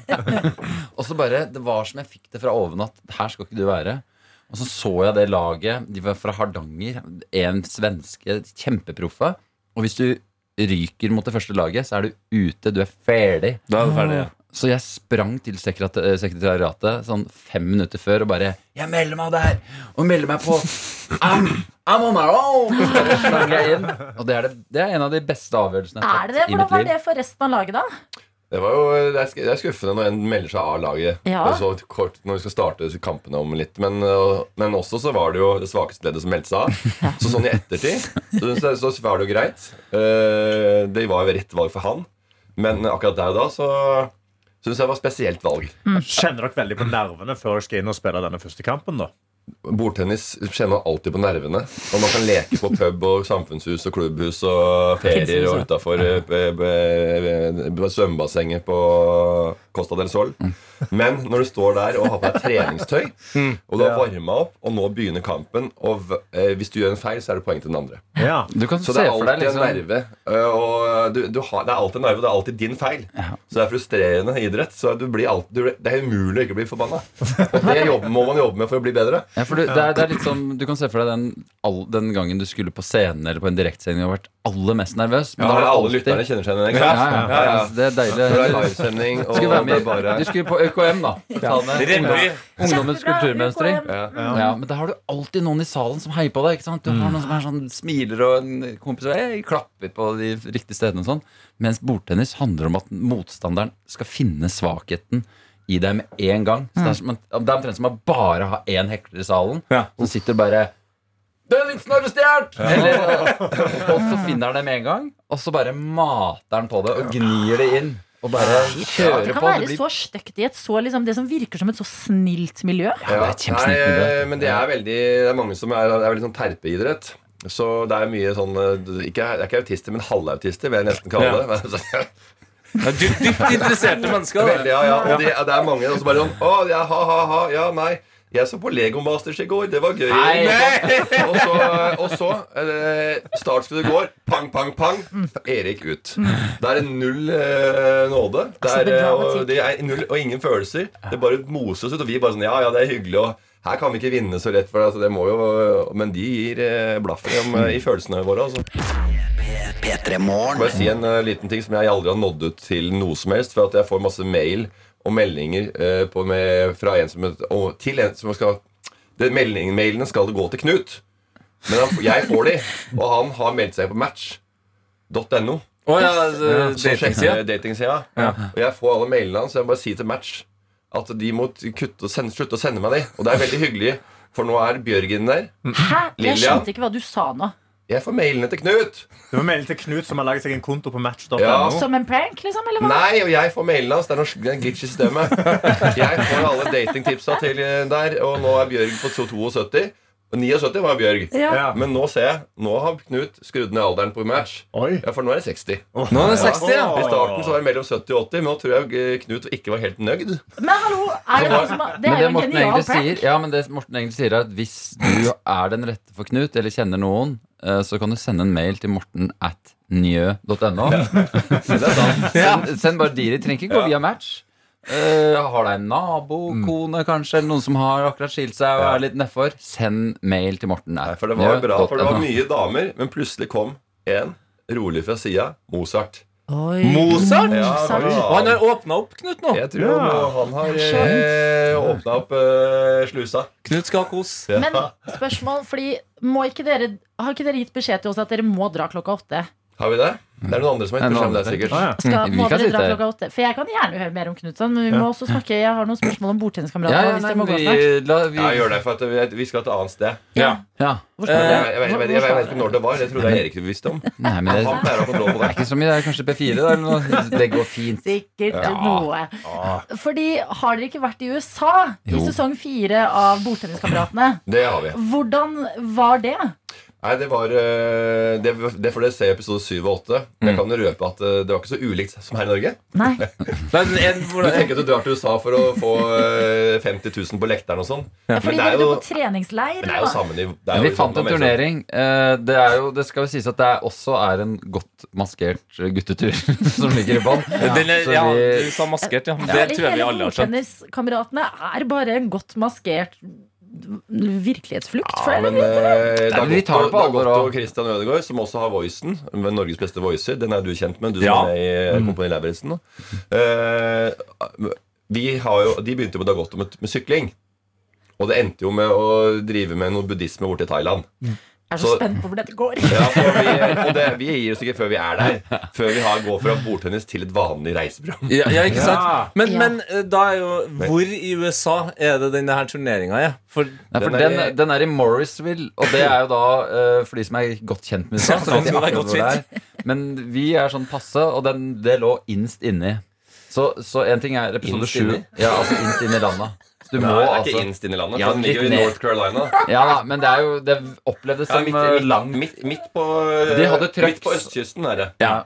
Og så bare, Det var som jeg fikk det fra oven at her skal ikke du være. Og så så jeg det laget. De var fra Hardanger. En svenske. Kjempeproffe. Og hvis du ryker mot det første laget, så er du ute. Du er ferdig. Da er det ferdig, ja. Så jeg sprang til sekretari- eh, sekretariatet sånn fem minutter før og bare 'Jeg melder meg der!' Og melder meg på. I'm, I'm on my own! Så bare slang jeg inn. Og det er, det, det er en av de beste avgjørelsene jeg har Er det tatt det? i Hvordan mitt var liv. det for resten av laget, da? Det, var jo, det, er, sk- det er skuffende når en melder seg av laget Ja. Det er så kort når vi skal starte kampene om litt. Men, eh, men også så var det jo det svakeste leddet som meldte seg av. Så sånn i ettertid så, så var det jo greit. Eh, Det var jo rett valg for han. Men akkurat der og da så syns jeg det var spesielt valg. Mm. Kjenner dere veldig på nervene før jeg skal inn og spille denne første kampen? da? Bordtennis kjenner man alltid på nervene. Og man kan leke på pub og samfunnshus og klubbhus og ferier og utafor eh, svømmebassenget på Costa del Sol. Mm. Men når du står der og har på deg treningstøy, Mm. og du har varma opp, og nå begynner kampen, og v- eh, hvis du gjør en feil, så er det poeng til den andre. Ja. Du kan se Så det er for deg alltid en liksom, nerve. eh, Og du, du har, det er alltid en nerve, og det er alltid din feil. Så det er frustrerende idrett. Så du blir alt, du, det er umulig å ikke bli forbanna. Og det jobber, må man jobbe med for å bli bedre. Ja, for du, det er, det er litt sånn, du kan se for deg den, all, den gangen du skulle på scenen eller på en direktsending og vært aller mest nervøs. Men Da da var har det alle alltid- lytterne kjenner seg igjen i den. ikke Ja, sant? ja, ja, Ja, ja. altså, Det er Når det er deilig. livesending, Du og skulle, være det med, er bare du skulle på ØKM, da. Ta med Revy. ungdom- Ungdommens Kjempebra, eh, kulturmønstring. UKM. Ja. Ja. men der har du alltid noen i salen som heier på deg. ikke sant? Du Mm. har noen som er sånn, smiler og en kompis og «Hei», klapper på de riktige stedene. og sånn. Mens bordtennis handler om at motstanderen skal finne svakheten i deg med en gang. Så Mm. det, er som, at- det er omtrent som å bare ha én hekler i salen Ja. som sitter og bare den vitsen har du stjålet! [LAUGHS] Og så finner han det med en gang, og så bare mater han på det og gnir det inn. Og bare kjører Det kan på. være så stygt i et så liksom, Det som virker som et så snilt miljø. Ja, det er Nei, kjempesnilt miljø. eh, men det er veldig Det er mange som er, det er veldig sånn terpeidrett. Så det er mye sånn eh, ikke, Det er ikke autister, men halvautister, vil jeg nesten kalle det. [LAUGHS] Altså, Ja, dy- Dypt interesserte mennesker. Veldig, Da. ja, ja. Og det, det er mange som bare sånn Å, ja, ha, ha, ha. Ja, nei. Jeg så på Lego Masters i går. Det var gøy. Nei. Og så, og så eh, startskuddet går. Pang, pang, pang. Erik ut. Da er det null eh, nåde. Det Altså, er, det er eh, og, dramatikk. det er null, og ingen følelser. Det bare moses ut. Og vi bare sånn Ja, ja, det er hyggelig. Og her kan vi ikke vinne så lett, for altså, det må jo Men de gir eh, blaffen i, om- i følelsene våre, altså. Bare si en eh, liten ting som jeg aldri har nådd ut til noe som helst. For at jeg får masse mail og meldinger eh, på med, fra en som og, til en som skal det, meldingen, Mailene skal gå til Knut. Men han, jeg får de, og han har meldt seg på match.no. Å, ja, eh, Så sjekker datingsida. datingsida. Og jeg får alle mailene hans, så jeg bare sier til match at de må t- kutte og sende, slutte å sende meg de. Og det er veldig hyggelig, for nå er Bjørgen der. Hæ? Jeg Lillian? skjønte ikke hva du sa nå. Jeg får mailene til Knut! Du må melde til Knut, som har laget seg en konto på match.no. Ja. Som en prank, liksom? Eller hva? Nei, og jeg får mailen hans. Det er noe sk- det er en glitch i systemet. Jeg får alle datingtipsa til eh, der, og nå er Bjørg på 72. Og 79 var Bjørg. Ja. Ja. Men nå ser jeg Nå har Knut skrudd ned alderen på match. Oi. Ja, For nå er det 60. Nå er det 60, ja. I starten så var det mellom 70 og 80, men nå tror jeg eh, Knut ikke var helt nøyd. Men hallo, er det noe som har- Det Men er det jo en Morten egentlig genial sier, prank. ja, men det Morten egentlig sier er at hvis du er den rette for Knut, eller kjenner noen, eh, så kan du sende en mail til morten at njø.no. [LAUGHS] Send, send bare de de trenger ikke gå via match. Eh, har deg en nabo, Mm. kone kanskje, eller noen som har akkurat skilt seg og er litt nedfor, send mail til morten Nei, at For det var bra, for det var njø.no. mye damer, men plutselig kom en rolig fra sida Mozart. Oi. Mozart? Ja, Mozart. bra. Og han har åpna opp, Knut, nå. Jeg tror han har eh, åpna opp eh, slusa. Knut skal ha kos. Ja. Men spørsmål, fordi må ikke dere Har ikke dere gitt beskjed til oss at dere må dra klokka åtte? Har vi det? Det er noen andre som Det har er noen gitt beskjed om det, andre. sikkert. Ah, ja. Skal, Mm, vi må kan dere sitte dra her. klokka åtte? For jeg kan gjerne høre mer om Knutson, men vi må også snakke Jeg har noen spørsmål om Ja, bordtenniskamerater. ja, hvis nei, dere må gå snart. vi, la, vi, Ja, jeg gjør det, for at vi- vi skal et annet sted. Ja. ja. Hvor skal Jeg, dere? Eh, jeg, vet- jeg, vet- jeg, vet ikke når det var. Det trodde jeg Erik visste om. Nei, men det, Han det pleier å ha kontroll på er det. ikke så mye, det er kanskje P4 da, eller noe. Det går fint. Sikkert noe. Ah. Fordi har dere ikke vært i USA i Jo. sesong fire av Bordtenniskameratene? Det har vi. Hvordan var det? Nei, det var eh, Det, det får dere se i episode 7 og 8. Jeg Mm. kan røpe at eh, det var ikke så ulikt som her i Norge. Nei. Men en, Du hvordan, tenker at du drar til USA for å få eh, 50 000 på lekteren og sånn. Fordi det er dere dro jo- på treningsleir. Men det er jo da. samme nivå. det Ja, er jo vi liksom- fant en det er mer sånn- turnering. Eh, Det, er jo, det skal jo sies at det er også er en godt maskert eh, guttetur [LAUGHS] som ligger i bånn. den er, Så ja, vi- du sa maskert, ja. Det Fordi tror jeg vi alle Hele har skjønt. Bordtenniskameratene er bare en godt maskert virkelighetsflukt. for Ja, dere, men eller? eh, Nei, men vi Dagotto tar det på alvor, Dagotto da. og Christian Ødegaard, som også har voicen, med Norges beste voicer, den er du kjent med, du som er Ja. Mm. med i eh, Kompani Lauritzen. Uh, vi har jo, de begynte jo med Dagotto med, med sykling. Og det endte jo med å drive med noe buddhisme borte i Thailand. Jeg er så [LAUGHS] så- spent på hvor dette går. Ja, for vi, og det, vi gir oss ikke før vi er der. Før vi har, går fra bordtennis til et vanlig reiseprogram. Ja, ja, ikke Ja. sant? Men, Ja. men eh, da er jo Hvor i USA er det denne her turneringa er? For Nei, for Den er den, i- den er i Morrisville, og det er jo da eh, for de som er godt kjent med USA. Ja, så vet de det er akkurat godt hvor det er. Men vi er sånn passe, og den, det lå innst inni. Så, så en ting er episode Innst sju. inni? Ja, altså innst inni landa. Så du Nei, må det er ikke altså innst inn i landet. Ja, for den ligger jo litt i ned. North Carolina. Ja da, men det er jo Det opplevdes Ja, som midt, eh, midt, langt. midt, midt på De hadde trøkk. Midt på østkysten er det. Ja.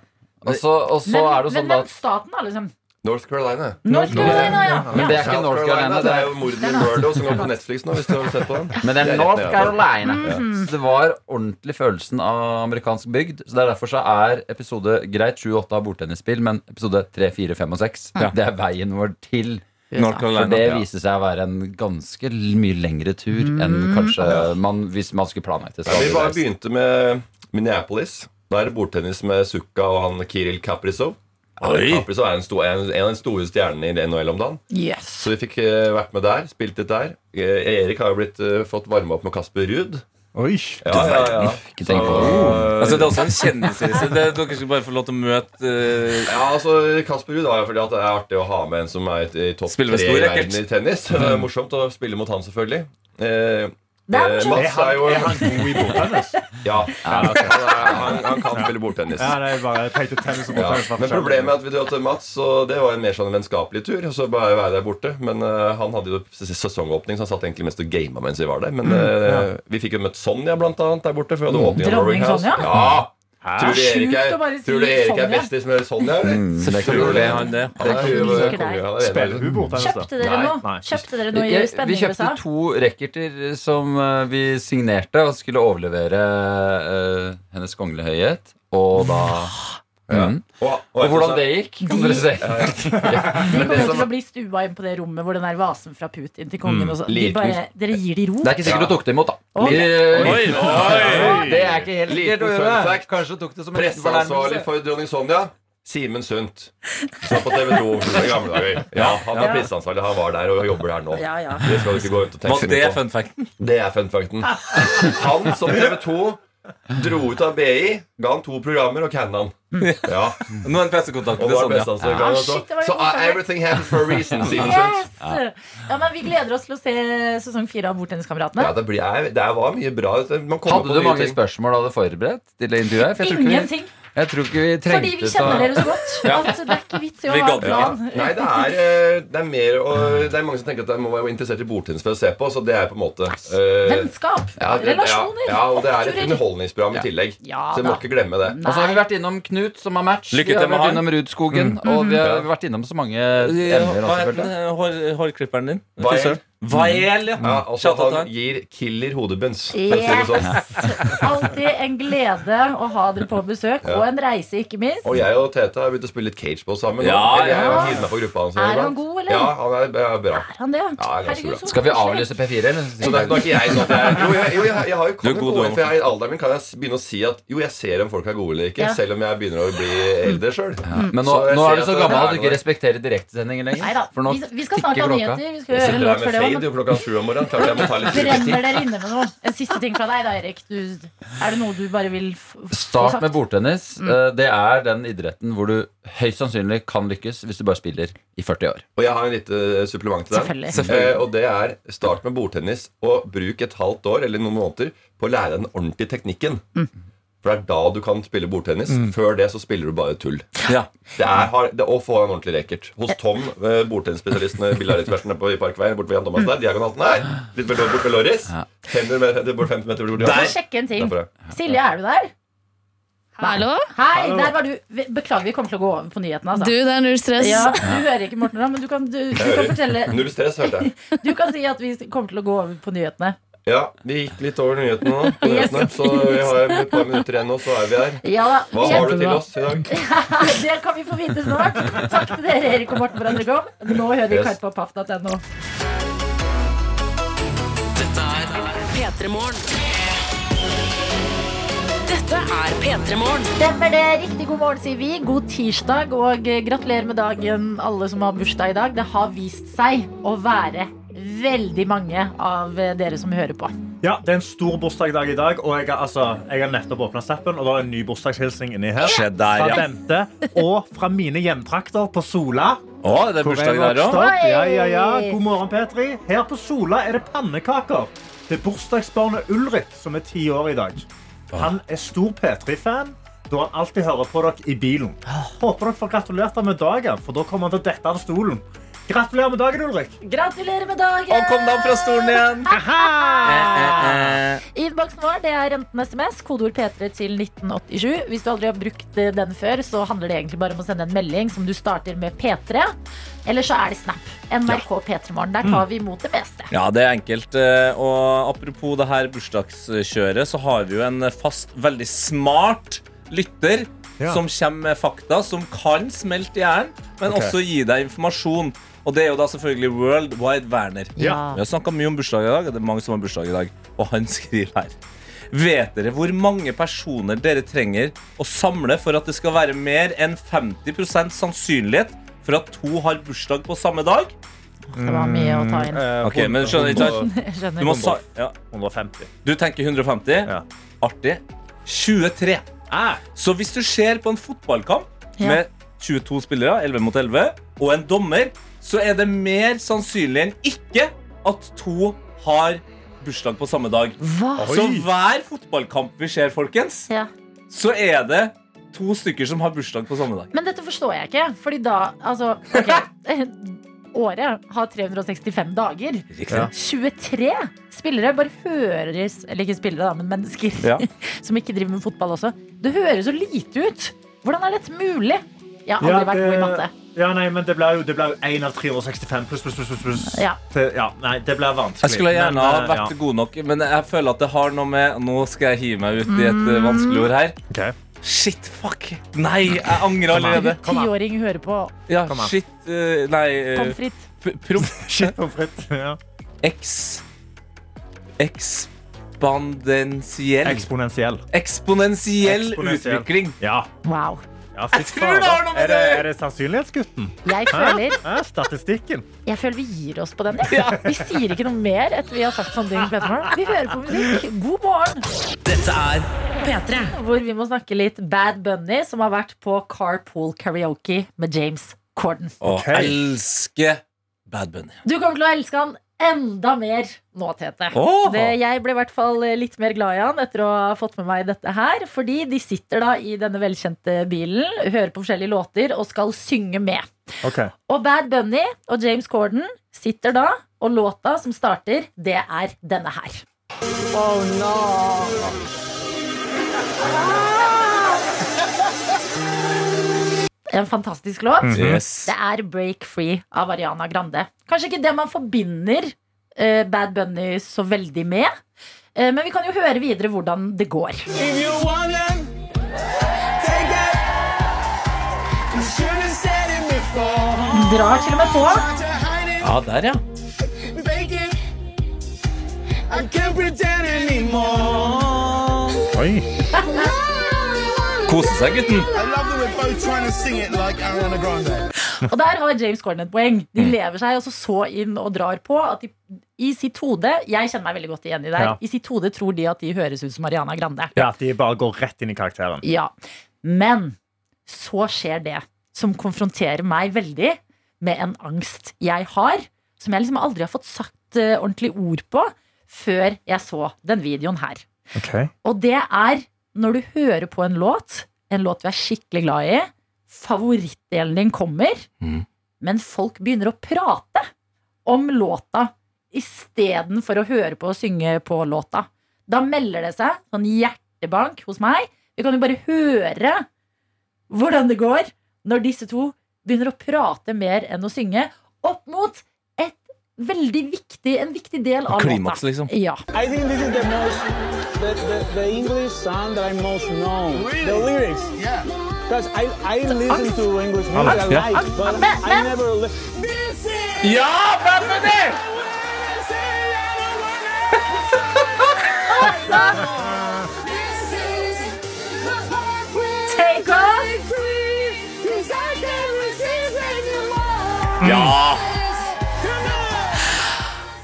Og så, og så Men, er det jo men, sånn da men staten, da, liksom. North Carolina. North Carolina, ja. Men det er ikke South North Carolina. Det Det er er jo Morden i Murdo som går på Netflix nå. Hvis du har sett på den Men det Det er er rett North nede. Carolina. Mhm. Så det var ordentlig følelsen av amerikansk bygd. Så det er derfor så er episode greit 7-8 av bordtennisspill, men episode 3, 4, 5 og 6 det er veien vår til North USA. For Carolina. det ja. Mm. viste seg å være en ganske mye lengre tur enn kanskje man, hvis man skulle planlagt det. så Vi hadde bare det- begynte med Minneapolis. Da er det bordtennis med Sukka og han Kiril Kaprizov. Oi. Kaprizov er en, stor, en, en av de store stjernene i NHL om dagen. Yes. Så vi fikk eh, vært med der, spilt litt der. Eh, Erik har jo blitt eh, fått varma opp med Kasper Ruud. Oi. Ja, ja, ja. Ikke tenk på det. Altså, det er også en kjendisreise. Det- Dere skal bare få lov til å møte eh, Ja, altså Kasper Ruud er jo fordi at det er artig å ha med en som er i topp tre Spiller med i stor racket. verden i tennis. [LAUGHS] Det er morsomt å spille mot han, selvfølgelig. Eh, Det er eh, morsomt. Er Mats han, er jo er han god i bordtennis? [LAUGHS] Ja, han, er- han, han kan spille bordtennis. Ja, det er bare jeg tenkte tennis og Ja. bordtennis. var Men forskjellig. problemet er at vi dro til Mats, og det var en mer sånn vennskapelig tur. Og så bare være der borte Men eh, han hadde jo ses- sesongåpning, så han satt egentlig mest og gama mens vi var der. Mm, Men eh, vi fikk jo møtt Sonja blant annet der borte. For vi hadde åpning av Dronning Norway House. Sonja? Ja. Tror du Sjukt Erik er, å bare si tror du Erik er Sonja. bestis med Sonja, eller? Mm. Selvfølgelig er han det. Han er eh, jo Liker deg. konge, han er Spiller enig. hun bordtennis, da? Kjøpte dere Nei, noe? nei. Kjøpte dere noe i Jeg, vi spenning i kjøpte USA? to racketer som eh, vi signerte og skulle overlevere eh, Hennes Kongelige Høyhet. Og da mm. Og, Og hvordan det gikk, kan dere se. [LAUGHS] De kommer jo som- til å bli stua inn på det rommet hvor den der vasen fra Putin til kongen og så- de liten- bare, Dere gir de ro. Det er ikke sikkert du tok det imot, da. Oi. Eh, Oi, oi. Det er ikke helt Liten sikkert å gjøre. fun fact. Kanskje tok det som en liten fornærmelse. Presseansvarlig for dronning Sonja. Simen Sundt. Så på TV 2 i gamle dager. Ja, han Ja. er presseansvarlig. Han var der og jobber der nå. Ja, ja. Det skal du ikke gå rundt og tenke Var så mye det på. fun [LAUGHS] facten? Det er [LAUGHS] fun facten. Han som TV 2 dro ut av BI, ga han to programmer og canna han. Mm. Ja, Nå er det pressekontakt og med det var Sonja. best altså, ga han Ah, også. shit, det var jo Så god fun fact. everything happens for a reason, [LAUGHS] Simen Sundt. Yes! Ja, men Vi gleder oss til å se sesong fire av Ja, Bordtenniskameratene. det, blir, jeg- det var mye bra. Man kommer på Hadde du nye mange ting. spørsmål du hadde forberedt til det intervjuet? For jeg tror ikke vi, Ingenting. jeg tror ikke vi Fordi trengte vi kjenner dere så godt. At det er ikke vits i å Vi ha en gadd Ja. plan. Nei, det er, eh, det er mer og, Det er mange som tenker at de må være interessert i bordtennis for å se på, så det er på en måte eh, Vennskap, ja, det- relasjoner, Ja, ja, og det er et oppturer. underholdningsprogram i tillegg. Ja så du må da. ikke glemme det. Og så har vi vært innom Knut, som har match. Lykke vi har til med vært han. innom Rudskogen. Og vi har vært innom så mange emner. Hva også, heter selvfølgelig. den, eh, hår- hårklipperen din? Vael. Frisøren? Vael, ja. Ja, altså, Shout out han til han. gir killer hodebunns. for å si det Yes! sånn. Alltid en glede å ha dere på besøk, og en reise, ikke minst. Og jeg og Tete har begynt å spille litt cageball sammen. Ja, Eller jeg ja. har hilst meg på gruppa hans Er han iblant. god, eller? Ja, han er, er bra. Er han det? Ja, det er ganske bra. så Skal vi koselig. avlyse P4, eller? Så det er det er ikke jeg sånn at jeg Jo, jeg, jo, jeg, jeg har jo Du er kan jo god, gå du, inn, for jeg, i alderen min kan jeg s- begynne å si at jo, jeg ser om folk er gode eller ikke, Ja. Mm. selv om jeg begynner å bli eldre sjøl. Men nå, Så jeg nå ser er du så at det gammel er at du ikke noe. respekterer direktesendinger lenger. Neida, For nå vi, vi skal snart tikker ha klokka. nyheter. Vi skal Jeg høre en låt sitter her før med det òg, fade jo klokka sju om morgenen. Klart jeg må ta litt brenner tid. dere inne med noe? En siste ting fra deg da, Erik. Du, er det noe du bare vil f- få Start med sagt? bordtennis. Mm. Eh, Det er den idretten hvor du høyst sannsynlig kan lykkes hvis du bare spiller i 40 år. Og jeg har en lite supplement til den. Selvfølgelig. Eh, og det er start med bordtennis og bruk et halvt år eller noen måneder på å lære deg den ordentlige teknikken. Mm. For det er da du kan spille bordtennis. Mm. Før det så spiller du bare tull. Ja. Det er, har, det, å få en ordentlig racket. Hos Tom, eh, bordtennisspesialisten eh, billardrettsverten nede på i Parkveien, borte ved Jan Thomas der, diagonalten her, litt ved, bort ved Loris, 500 meter, det bor 50 meter bort Skal diagonalen. sjekke en ting. Derfor det. Silje, er du der? Hallo? Hei, der var du. Vi- Beklager, vi kommer til å gå over på nyhetene. Du, Altså. det er null stress. Ja, du hører ikke Morten, da, men du kan, du, du kan [LAUGHS] fortelle Null stress, hørte jeg. Du kan si at vi kommer til å gå over på nyhetene. Ja, vi gikk litt over nyhetene nå, på nyhetene, så vi har et par minutter igjen nå, så er vi her. Ja, da, Hva vi- har du til oss i dag? [LAUGHS] Det kan vi få vite snart. Takk til dere, Erik og Morten, for at dere kom. Nå hører vi Yes. kartpåpaff.no. Dette er P3 Morgen. Dette er P3 Morgen. Stemmer det. Riktig god morgen, sier vi. God tirsdag, og eh, gratulerer med dagen, alle som har bursdag i dag. Det har vist seg å være veldig mange av eh, dere som hører på. Ja, det er en stor bursdag i dag, i dag og jeg har, altså, jeg har nettopp åpna steppen. Og det er en ny bursdagshilsning inni her. Se der, Fra ja. Bente, og fra mine hjemtrakter på Sola. Å, det er hvor jeg bursdag der vokste òg. opp. Ja, ja, ja. God morgen, Petri. Her på Sola er det pannekaker til bursdagsbarnet Ulrik, som er ti år i dag. Han er stor P3-fan, da han alltid hører på dere i bilen. Håper dere får gratulert ham med dagen, for da kommer han til å dette av stolen. Gratulerer med dagen, Ulrik. Gratulerer med dagen! Han kom da fra stolen igjen. Eh, Innboksen vår det er enten SMS, kodeord P3 til 1987. Hvis du aldri har brukt eh, den før, så handler det egentlig bare om å sende en melding som du starter med P3. Eller så er det Snap. NRK P3 Morgen. Der Mm. tar vi imot det meste. Ja, det er enkelt. eh, Og apropos det her bursdagskjøret, så har vi jo en fast, veldig smart lytter som kommer med fakta som kan smelte hjernen, men også gi deg informasjon. Og det er jo da selvfølgelig World Wide Werner. Ja. Vi har snakka mye om bursdag i dag, og det er mange som har bursdag i dag. Og han [LAUGHS] skriver her. Vet dere hvor mange personer dere trenger å samle for at det skal være mer enn 50 sannsynlighet for at to har bursdag på samme dag? Det var mye å ta inn. Eh, Ok, men skjønner ikke [LAUGHS] sant? Jeg Mm. Du, må skjønner. sa ja. 150. du tenker 150. Ja. Artig. 23. Så hvis du ser på en fotballkamp Ja. med 22 spillere, 11 mot 11, og en dommer, så er det mer sannsynlig enn ikke at to har bursdag på samme dag. Hva? Så hver fotballkamp vi ser, folkens, Ja. så er det to stykker som har bursdag på samme dag. Men dette forstår jeg ikke, fordi da Altså, ok. [LAUGHS] Året har 365 dager. Riktig. 23 spillere bare høres Eller ikke spillere, da, men mennesker Ja. [LAUGHS] som ikke driver med fotball også. Det høres så lite ut! Hvordan er dette mulig? Jeg har aldri Ja, vært god i matte. det- Ja, nei, men det blir jo- det blir jo én av 365 pluss, pluss, pluss. pluss, pluss. Ja. Til, ja, nei, det blir vanskelig. Jeg skulle gjerne Men, ha eh, vært god nok, men jeg føler at det har noe med Nå skal jeg hive meg ut i et eh, vanskelig ord her. ja. Ok. Shit, fuck! Nei, jeg angrer Kom an. allerede. Kom an. Tiåring hører på Ja, Kom an. shit eh, Nei, eh, pommes frites. p- proff Shit pommes frites. [LAUGHS] Ja. X Ekspandensiell Eksponentiell. Eksponentiell Eksponentiell. utvikling. Ja. Wow. ja Jeg fy tror faen. det har noe med er det, det- er det [LAUGHS] sannsynlighetsgutten? Jeg føler, Ja, statistikken. jeg føler vi gir oss på den. jeg. Vi sier ikke noe mer etter vi har sagt sånn sånne ting. på Petermorgen. Vi hører på musikk. God morgen! Dette er P3. Hvor vi må snakke litt Bad Bunny, som har vært på Carpool Karaoke med James Corden. Å, Ok. elsker Bad Bunny. Du kommer til å elske han enda mer nå, Tete. Åh! Det, jeg ble i hvert fall litt mer glad i han etter å ha fått med meg dette her. Fordi de sitter da i denne velkjente bilen, hører på forskjellige låter og skal synge med. Ok. Og Bad Bunny og James Corden sitter da, og låta som starter, det er denne her. Oh no! En fantastisk låt. Mhm. Yes. Det er Break Free av Ariana Grande. Kanskje ikke det man forbinder eh, Bad Bunny så veldig med. eh, men vi kan jo høre videre hvordan det går. Drar til og med på. Ja, der, ja. Oi. Kose seg, gutten. Og der har James Corden et poeng. Mm. De lever seg altså så inn og drar på at de i sitt hode Jeg kjenner meg veldig godt igjen i det. her. Ja. I sitt hode tror de at de høres ut som Ariana Grande. Ja, at de bare går rett inn i karakteren. Ja. Men så skjer det som konfronterer meg veldig med en angst jeg har, som jeg liksom aldri har fått sagt eh, ordentlig ord på før jeg så den videoen her. Ok. Og det er når du hører på en låt, en låt du er skikkelig glad i, favorittdelen din kommer, Mhm. men folk begynner å prate om låta istedenfor å høre på og synge på låta. Da melder det seg sånn hjertebank hos meg. Vi kan jo bare høre hvordan det går når disse to begynner å prate mer enn å synge opp mot et veldig viktig, en viktig del av Klimaks, låta. liksom. Ja. I think this is the most the, the, the English song that I most know. The lyrics. Yeah. Because I, I listen Angst. to English music a ja. lot, but Men- I men- never li- Ja, Bad Bunny! Take off! Ja!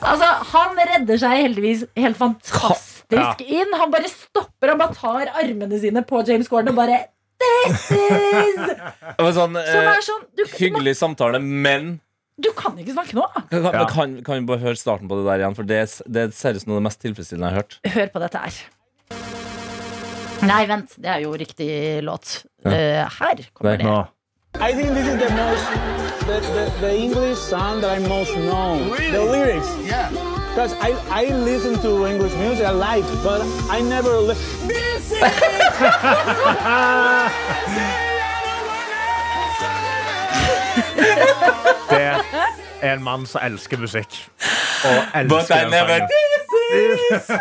Altså, Han redder seg heldigvis helt fantastisk inn. Han bare stopper og bare tar armene sine på James Corden og bare This is Det var sånn Som eh, er sånn Du, du, må, hyggelig samtale, men du kan ikke snakke nå. kan, Ja. kan, kan vi bare høre starten på det der igjen? For det, er- det er seriøst noe av det mest tilfredsstillende jeg har hørt. Hør på dette her. Nei, vent. Det er jo riktig låt. Eh, her kommer Nei. det. Nå. I think this is the most the, the, the English song that I most know. The lyrics. Yeah. Because I, I listen to English music a lot, but I never li- [LAUGHS] Det er en mann som elsker musikk. Og elsker But I den never sangen.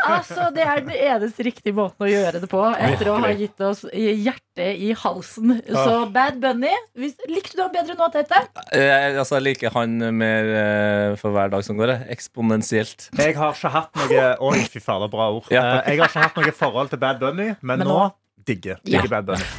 Altså, Det er den eneste riktige måten å gjøre det på etter å ha gitt oss hjertet i halsen. Så Bad Bunny hvis, Likte du han bedre nå, Tete? Jeg, altså, jeg liker han mer eh, for hver dag som går. jeg. Eksponentielt. Jeg har ikke hatt noe Oi, fy fader, bra ord. Ja. Eh, Jeg har ikke hatt noe forhold til Bad Bunny, men, Men nå nå- digger Ja. digger Bad Bunny.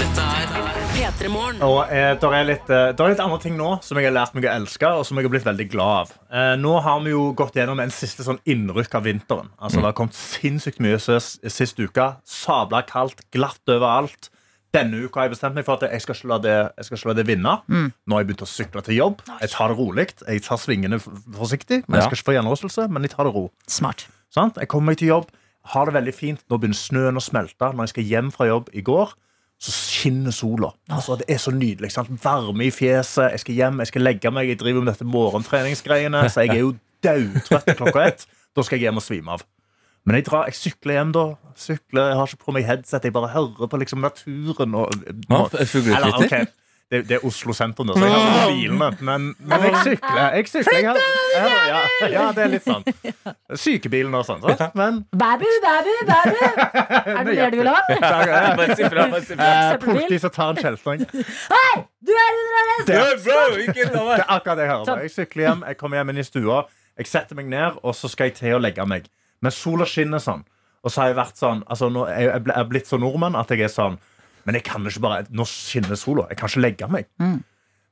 Dette er P3 Morgen. Og eh, der, er litt, eh, der er litt andre ting nå som jeg har lært meg å elske, og som jeg har blitt veldig glad av. Eh, nå har vi jo gått gjennom en siste sånn innrykk av vinteren. Altså, det har kommet sinnssykt mye sist, sist uke. Sabla kaldt, glatt overalt. Denne uka har jeg bestemt meg for at jeg skal ikke la det, jeg skal ikke la det vinne. Nå har jeg begynt å sykle til jobb. Jeg tar det rolig. Jeg tar svingene f- forsiktig. Men jeg skal ikke få hjernerystelse, men jeg tar det ro. Smart. Sant? Jeg kommer meg til jobb, har det veldig fint. Nå begynner snøen å smelte. Når jeg skal hjem fra jobb i går, så skinner sola. Altså, det er så nydelig. Sant? Varme i fjeset. Jeg skal hjem, jeg skal legge meg. Jeg driver med dette morgentreningsgreiene, så jeg er jo daudtrøtt klokka ett. Da skal jeg hjem og svime av. Men jeg, drar, jeg sykler hjem, da. Sykler, jeg har ikke på meg headset. Jeg bare hører på liksom naturen og eh, Hva? Fuglekvitter? Eller, ok, Det, det er Oslo sentrum, da, så jeg har ikke bilene. Men, men jeg sykler. Jeg sykler. Jeg har, ja, ja, ja, det er litt sånn. Sykebilen og sånn. sant? Men Babu, babu, babu! [LAUGHS] Er det mer du vil ha? Bare si fra, bare si fra. eh, Søppelbil. Politi som tar en kjeltring. [LAUGHS] Hei! Du er under arrest! Det, Hey, bro, ikke ta det meg. er akkurat det jeg hører. på. Jeg sykler hjem, jeg kommer hjem inn i stua, jeg setter meg ned, og så skal jeg til å legge meg. Men sola skinner sånn. Og så har jeg vært sånn altså, nå, jeg, jeg ble- jeg er blitt så nordmann at jeg er sånn Men jeg kan ikke bare Nå skinner sola. Jeg kan ikke legge meg.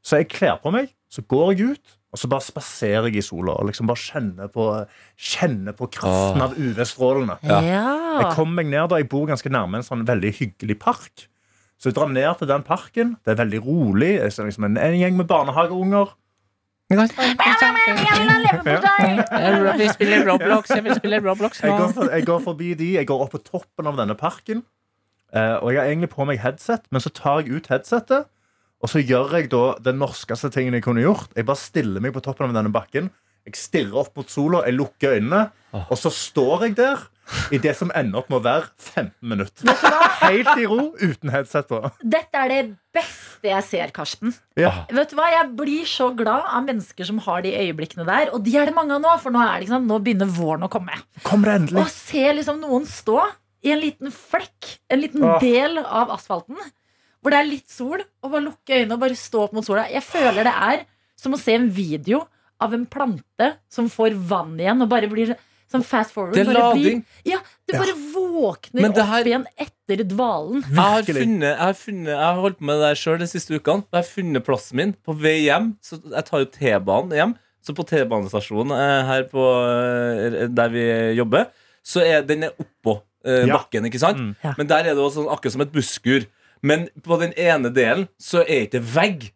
Så jeg kler på meg, så går jeg ut, og så bare spaserer jeg i sola. Og liksom bare kjenner på, kjenner på kraften av UV-strålene. Jeg Ja. kom meg ned da, jeg bor ganske nærme en sånn veldig hyggelig park. Så jeg drar ned til den parken. Det er veldig rolig. Jeg ser liksom en, en gjeng med barnehageunger. [LAUGHS] Vi spiller Roblox. Vi spiller Roblox Jeg går, for, jeg går forbi de, jeg går opp på toppen av denne parken. Eh, og jeg har egentlig på meg headset, men så tar jeg ut headsetet. Og så gjør jeg da den norskeste tingen jeg kunne gjort. Jeg bare stiller meg på toppen av denne bakken. Jeg stirrer opp mot sola, jeg lukker øynene, og så står jeg der i det som ender opp med å være 15 minutter. Helt i ro, uten headset på. Dette er det beste jeg ser, Karsten. Ja. Vet du hva, Jeg blir så glad av mennesker som har de øyeblikkene der. Og de er det mange av nå, for nå, er det, ikke sant? nå begynner våren å komme. Kom det endelig. Å se liksom noen stå i en liten flekk, en liten Åh. del av asfalten, hvor det er litt sol, og bare lukke øynene og bare stå opp mot sola. Jeg føler det er som å se en video av en plante som får vann igjen, og bare blir sånn fast forward. Det er bare blir- lading. Ja, du bare våkner Men det her- opp igjen etter dvalen. Jeg har, Virkelig. funnet, jeg, har funnet, jeg har holdt på med det der sjøl de siste ukene. og Jeg har funnet plassen min på vei hjem. Så jeg tar jo T-banen hjem. Så på T-banestasjonen eh, her på, eh, der vi jobber, så er den er oppå eh, Ja. bakken. ikke sant? Mm. Ja. Men der er det også sånn, akkurat som et busskur. Men på den ene delen så er ikke det vegg.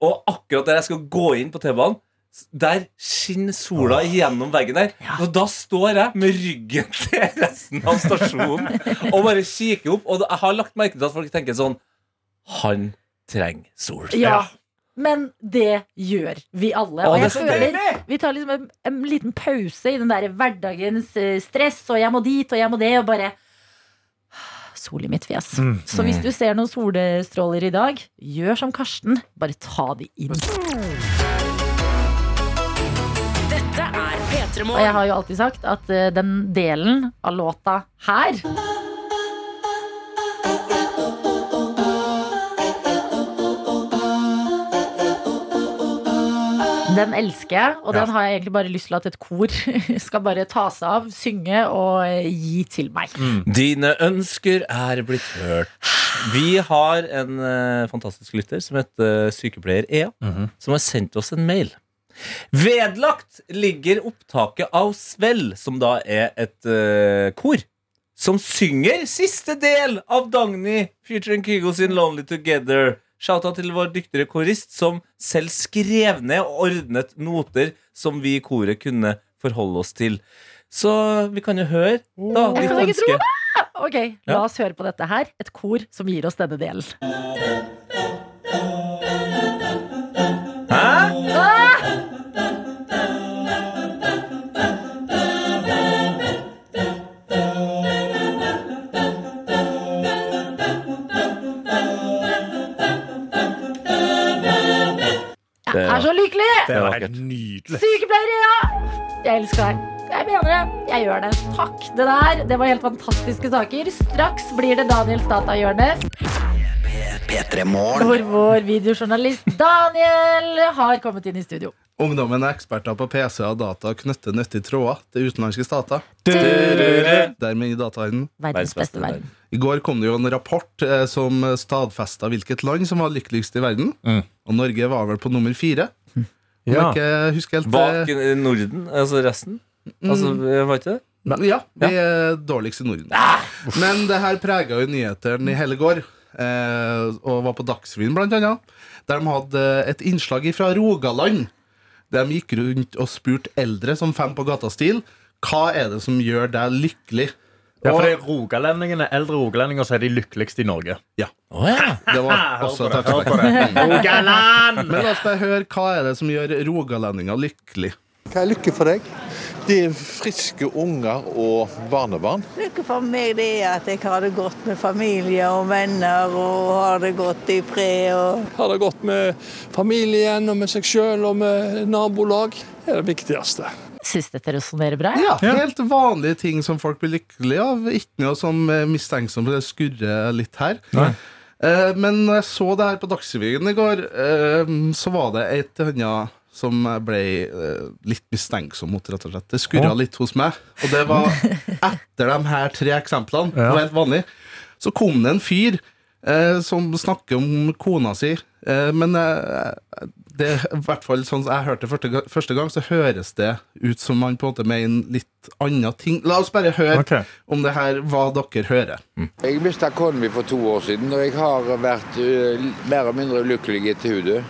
Og akkurat der jeg skal gå inn på T-banen, s- der skinner sola gjennom veggen der. Og da står jeg med ryggen [LAUGHS] til resten av stasjonen og bare kikker opp. Og jeg har lagt merke til at folk tenker sånn Han trenger sol. Ja. Men det gjør vi alle. Å, Og det jeg er så føler vi tar liksom en, en liten pause i den der hverdagens eh, stress, og jeg må dit, og jeg må det, og bare Sol i mitt fjes. Så hvis du ser noen solstråler i dag, gjør som Karsten. Bare ta de inn. Dette er P3 Og jeg Morgen. har jo alltid sagt at eh, den delen av låta her Den elsker jeg, og den har jeg egentlig bare lyst til at et kor [LAUGHS] skal bare ta seg av, synge og eh, gi til meg. Dine ønsker er blitt hørt. Vi har en eh, fantastisk lytter som heter eh, sykepleier Ea, som har sendt oss en mail. Vedlagt ligger opptaket av Svell, som da er et eh, kor, som synger siste del av Dagny featuring Kygo sin Lonely Together. Shouta til vår dyktigere korist, som selv skrev ned og ordnet noter som vi i koret kunne forholde oss til. Så vi kan jo høre da, Jeg ditt kan ikke tro ønske. Ok, la oss høre på dette her. Et kor som gir oss denne delen. Hæ? Jeg er så lykkelig! Det var var helt nydelig. Sykepleier, ja! Jeg elsker deg. Jeg mener det. Jeg gjør det. Takk. Det der det var helt fantastiske saker. Straks blir det Daniels datahjørne. Hvor vår videojournalist Daniel har kommet inn i studio. Ungdommen er eksperter på PC og data og knytter nyttige tråder til utenlandske stater. Du-du-du-du. Dermed i datahandelen. Verdens beste verden. I går kom det jo en rapport eh, som stadfesta hvilket land som var lykkeligst i verden. Mm. Og Norge var vel på nummer fire. Om jeg Ja. ikke husker helt Bak eh, i Norden, altså resten? Mm. Altså, var ikke det? Ja, vi er dårligst i Norden. Men det her prega jo nyhetene i hele går, eh, og var på Dagsrevyen blant annet. Der de hadde eh, et innslag fra Rogaland. Der de gikk rundt og spurte eldre som fem på gata-stil hva er det som gjør deg lykkelig. Ja, for Og- det er rogalendingene, Eldre rogalendinger så er de lykkeligste i Norge. Ja. Det var også et faktum. Men la oss bare høre hva er det som gjør rogalendinger lykkelig. Hva er lykke for deg? Det er friske unger og barnebarn. Lykke for meg det er at jeg har det godt med familie og venner og har det godt i fred. Og... Har det godt med familien og med seg sjøl og med nabolag. Det er det viktigste. Syns dette resonnerer bra? Ja, helt vanlige ting som folk blir lykkelige av. Ikke noe som eh, mistenksom for det skurrer litt her. Eh, Men når jeg så det her på Dagsrevyen i går, eh, så var det et annet som jeg ble eh, litt mistenksom mot, rett og slett. Det skurra Å. litt hos meg. Og det var etter de her tre eksemplene, det var helt vanlig, så kom det en fyr eh, som snakker om kona si. Eh, men eh, det er i hvert fall sånn som jeg hørte det første, ga- første gang, så høres det ut som man på en måte mener litt andre ting. La oss bare høre om det her, hva dere hører. Jeg mista kona mi for to år siden, og jeg har vært ø, mer og mindre ulykkelig etter hodet.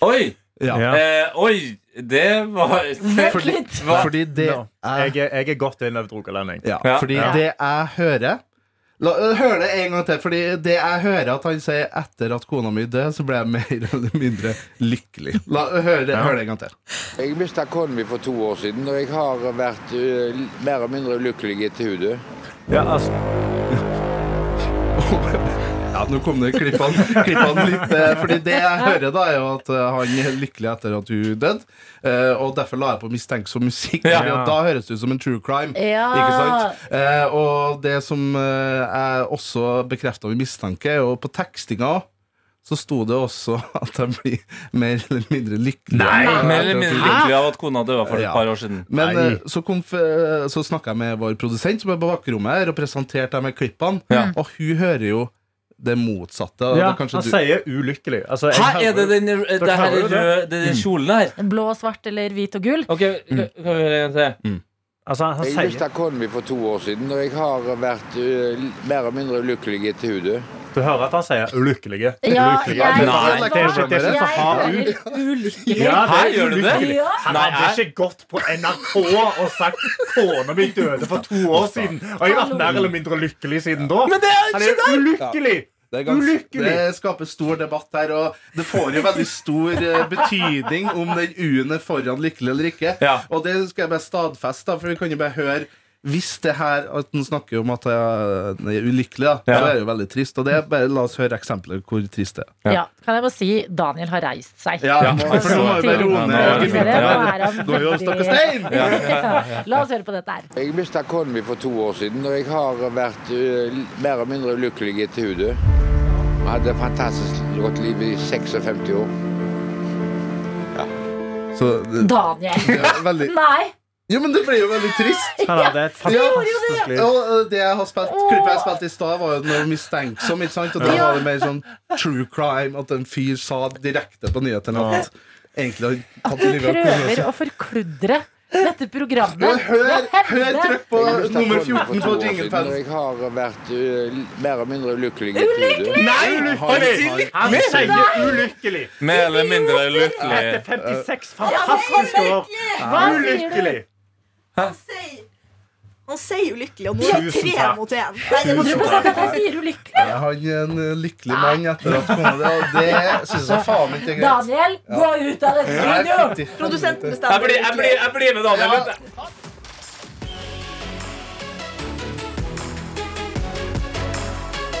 Oi! Ja. Eh, oi! Det var Hva? Fordi det Nå, jeg, er, jeg er godt innøvd rogalending. Ja, fordi det jeg hører La, eh, hør det en gang til, fordi det jeg hører at han sier etter at kona mi døde, så ble jeg mer eller mindre lykkelig. La, hør, det, hør det en gang til. Jeg mista kona mi for to år siden, og jeg har vært ø, mer og mindre ulykkelig etter hodet. Ja, altså Ja, nå kom det klippene, klippene litt eh, Fordi det jeg hører da er jo at eh, han er lykkelig etter at hun døde eh, Og derfor la jeg på mistenksom musikk Ja. fordi at Da høres det ut som en true crime Ja. Ikke sant? Eh, Og det som eh, jeg også bekreftet min mistanke Og på tekstinga så sto det også at jeg blir mer eller mindre lykkelig Nei, mer Etter eller at mindre hun døde. lykkelig av at kona døde for Ja. et par år siden. Men eh, så, kom, f- så snakka jeg med vår produsent som er på bakrommet her, og presenterte dem med klippene. Og hun hører jo det motsatte. og det Ja, er kanskje han du- sier ulykkelig. Altså, jeg Hæ, er det den eh, Dere det her hører er det? rød, det er den kjolen Mm. her? Blå, svart eller hvit og gull? Ok, Kan vi høre en gang til? Altså, Jeg mista kona mi for to år siden, og jeg har vært ø, mer og mindre ulykkelig etter hodet. Du hører at han sier 'ulykkelige'. Ja, Ulykkelige. jeg- Det er- Nei. det er- det er ikke så hard Jeg ut. hører ulykkelig. Ja, det er Hæ, gjør du det? ulykkelig. Ja. Han hadde ikke gått på NRK og sagt 'kona mi døde for to år siden', og jeg har vært mer eller mindre lykkelig siden da. Men det er Han er ikke det! ulykkelig! Det, er gans- Ulykkelig! det skaper stor debatt her, og det får jo veldig stor eh, betydning om den U-en er foran lykkelig eller ikke. Og det skal jeg bare stadfeste, da, for vi kan jo bare høre hvis det her at den snakker om at jeg er ulykkelig, da, Ja. så er det jo veldig trist. Og det er bare, la oss høre eksempler hvor trist det er. Ja, kan jeg bare si Daniel har reist seg. Ja, ja, for nå må vi bare roe ned Nå er gemyttene han her. Nå er vi jo veldig- stokk og stein. Ja, ja, ja. La oss høre på dette her. Jeg mista kona mi for to år siden, og jeg har vært ø, mer og mindre ulykkelig etter hodet. Jeg hadde et fantastisk godt liv i 56 år. Så, det- Daniel! Ja, veldig- Nei! Jo, men det ble jo veldig trist. Han hadde et fantastisk liv. Ja, og eh, det jeg har spilt, klippet jeg spilte i stad, var jo noe mistenksom. Ikke sant? Og da var det mer sånn true crime, at en fyr sa direkte på nyhetene at egentlig han hadde livet av kona Prøver si. å forkludre dette programmet. Men hør- Det hender. hør, trykk på- Jeg mistet nummer kona mi for 14 på to år jinglepaden. siden, og Jeg har vært ø, mer og mindre ulykkelig. Ulykkelig! Nei, Han sier ulykkelig. Mer eller mindre Etter lykkelig. 56 fantastiske år. Hva sier du? Ulykkelig. Han sier ulykkelig, og nå er det Tusen tre takk. mot én. Tusen takk. ulykkelig. Er han en eh, lykkelig mann etter at kona di Og det syns jeg faen ikke er greit. Daniel, gå ut av dette Ja, jeg studioet! fikk det. Produsenten Jeg blir, jeg, blir, jeg blir med Ja. Daniel. vet du. P3.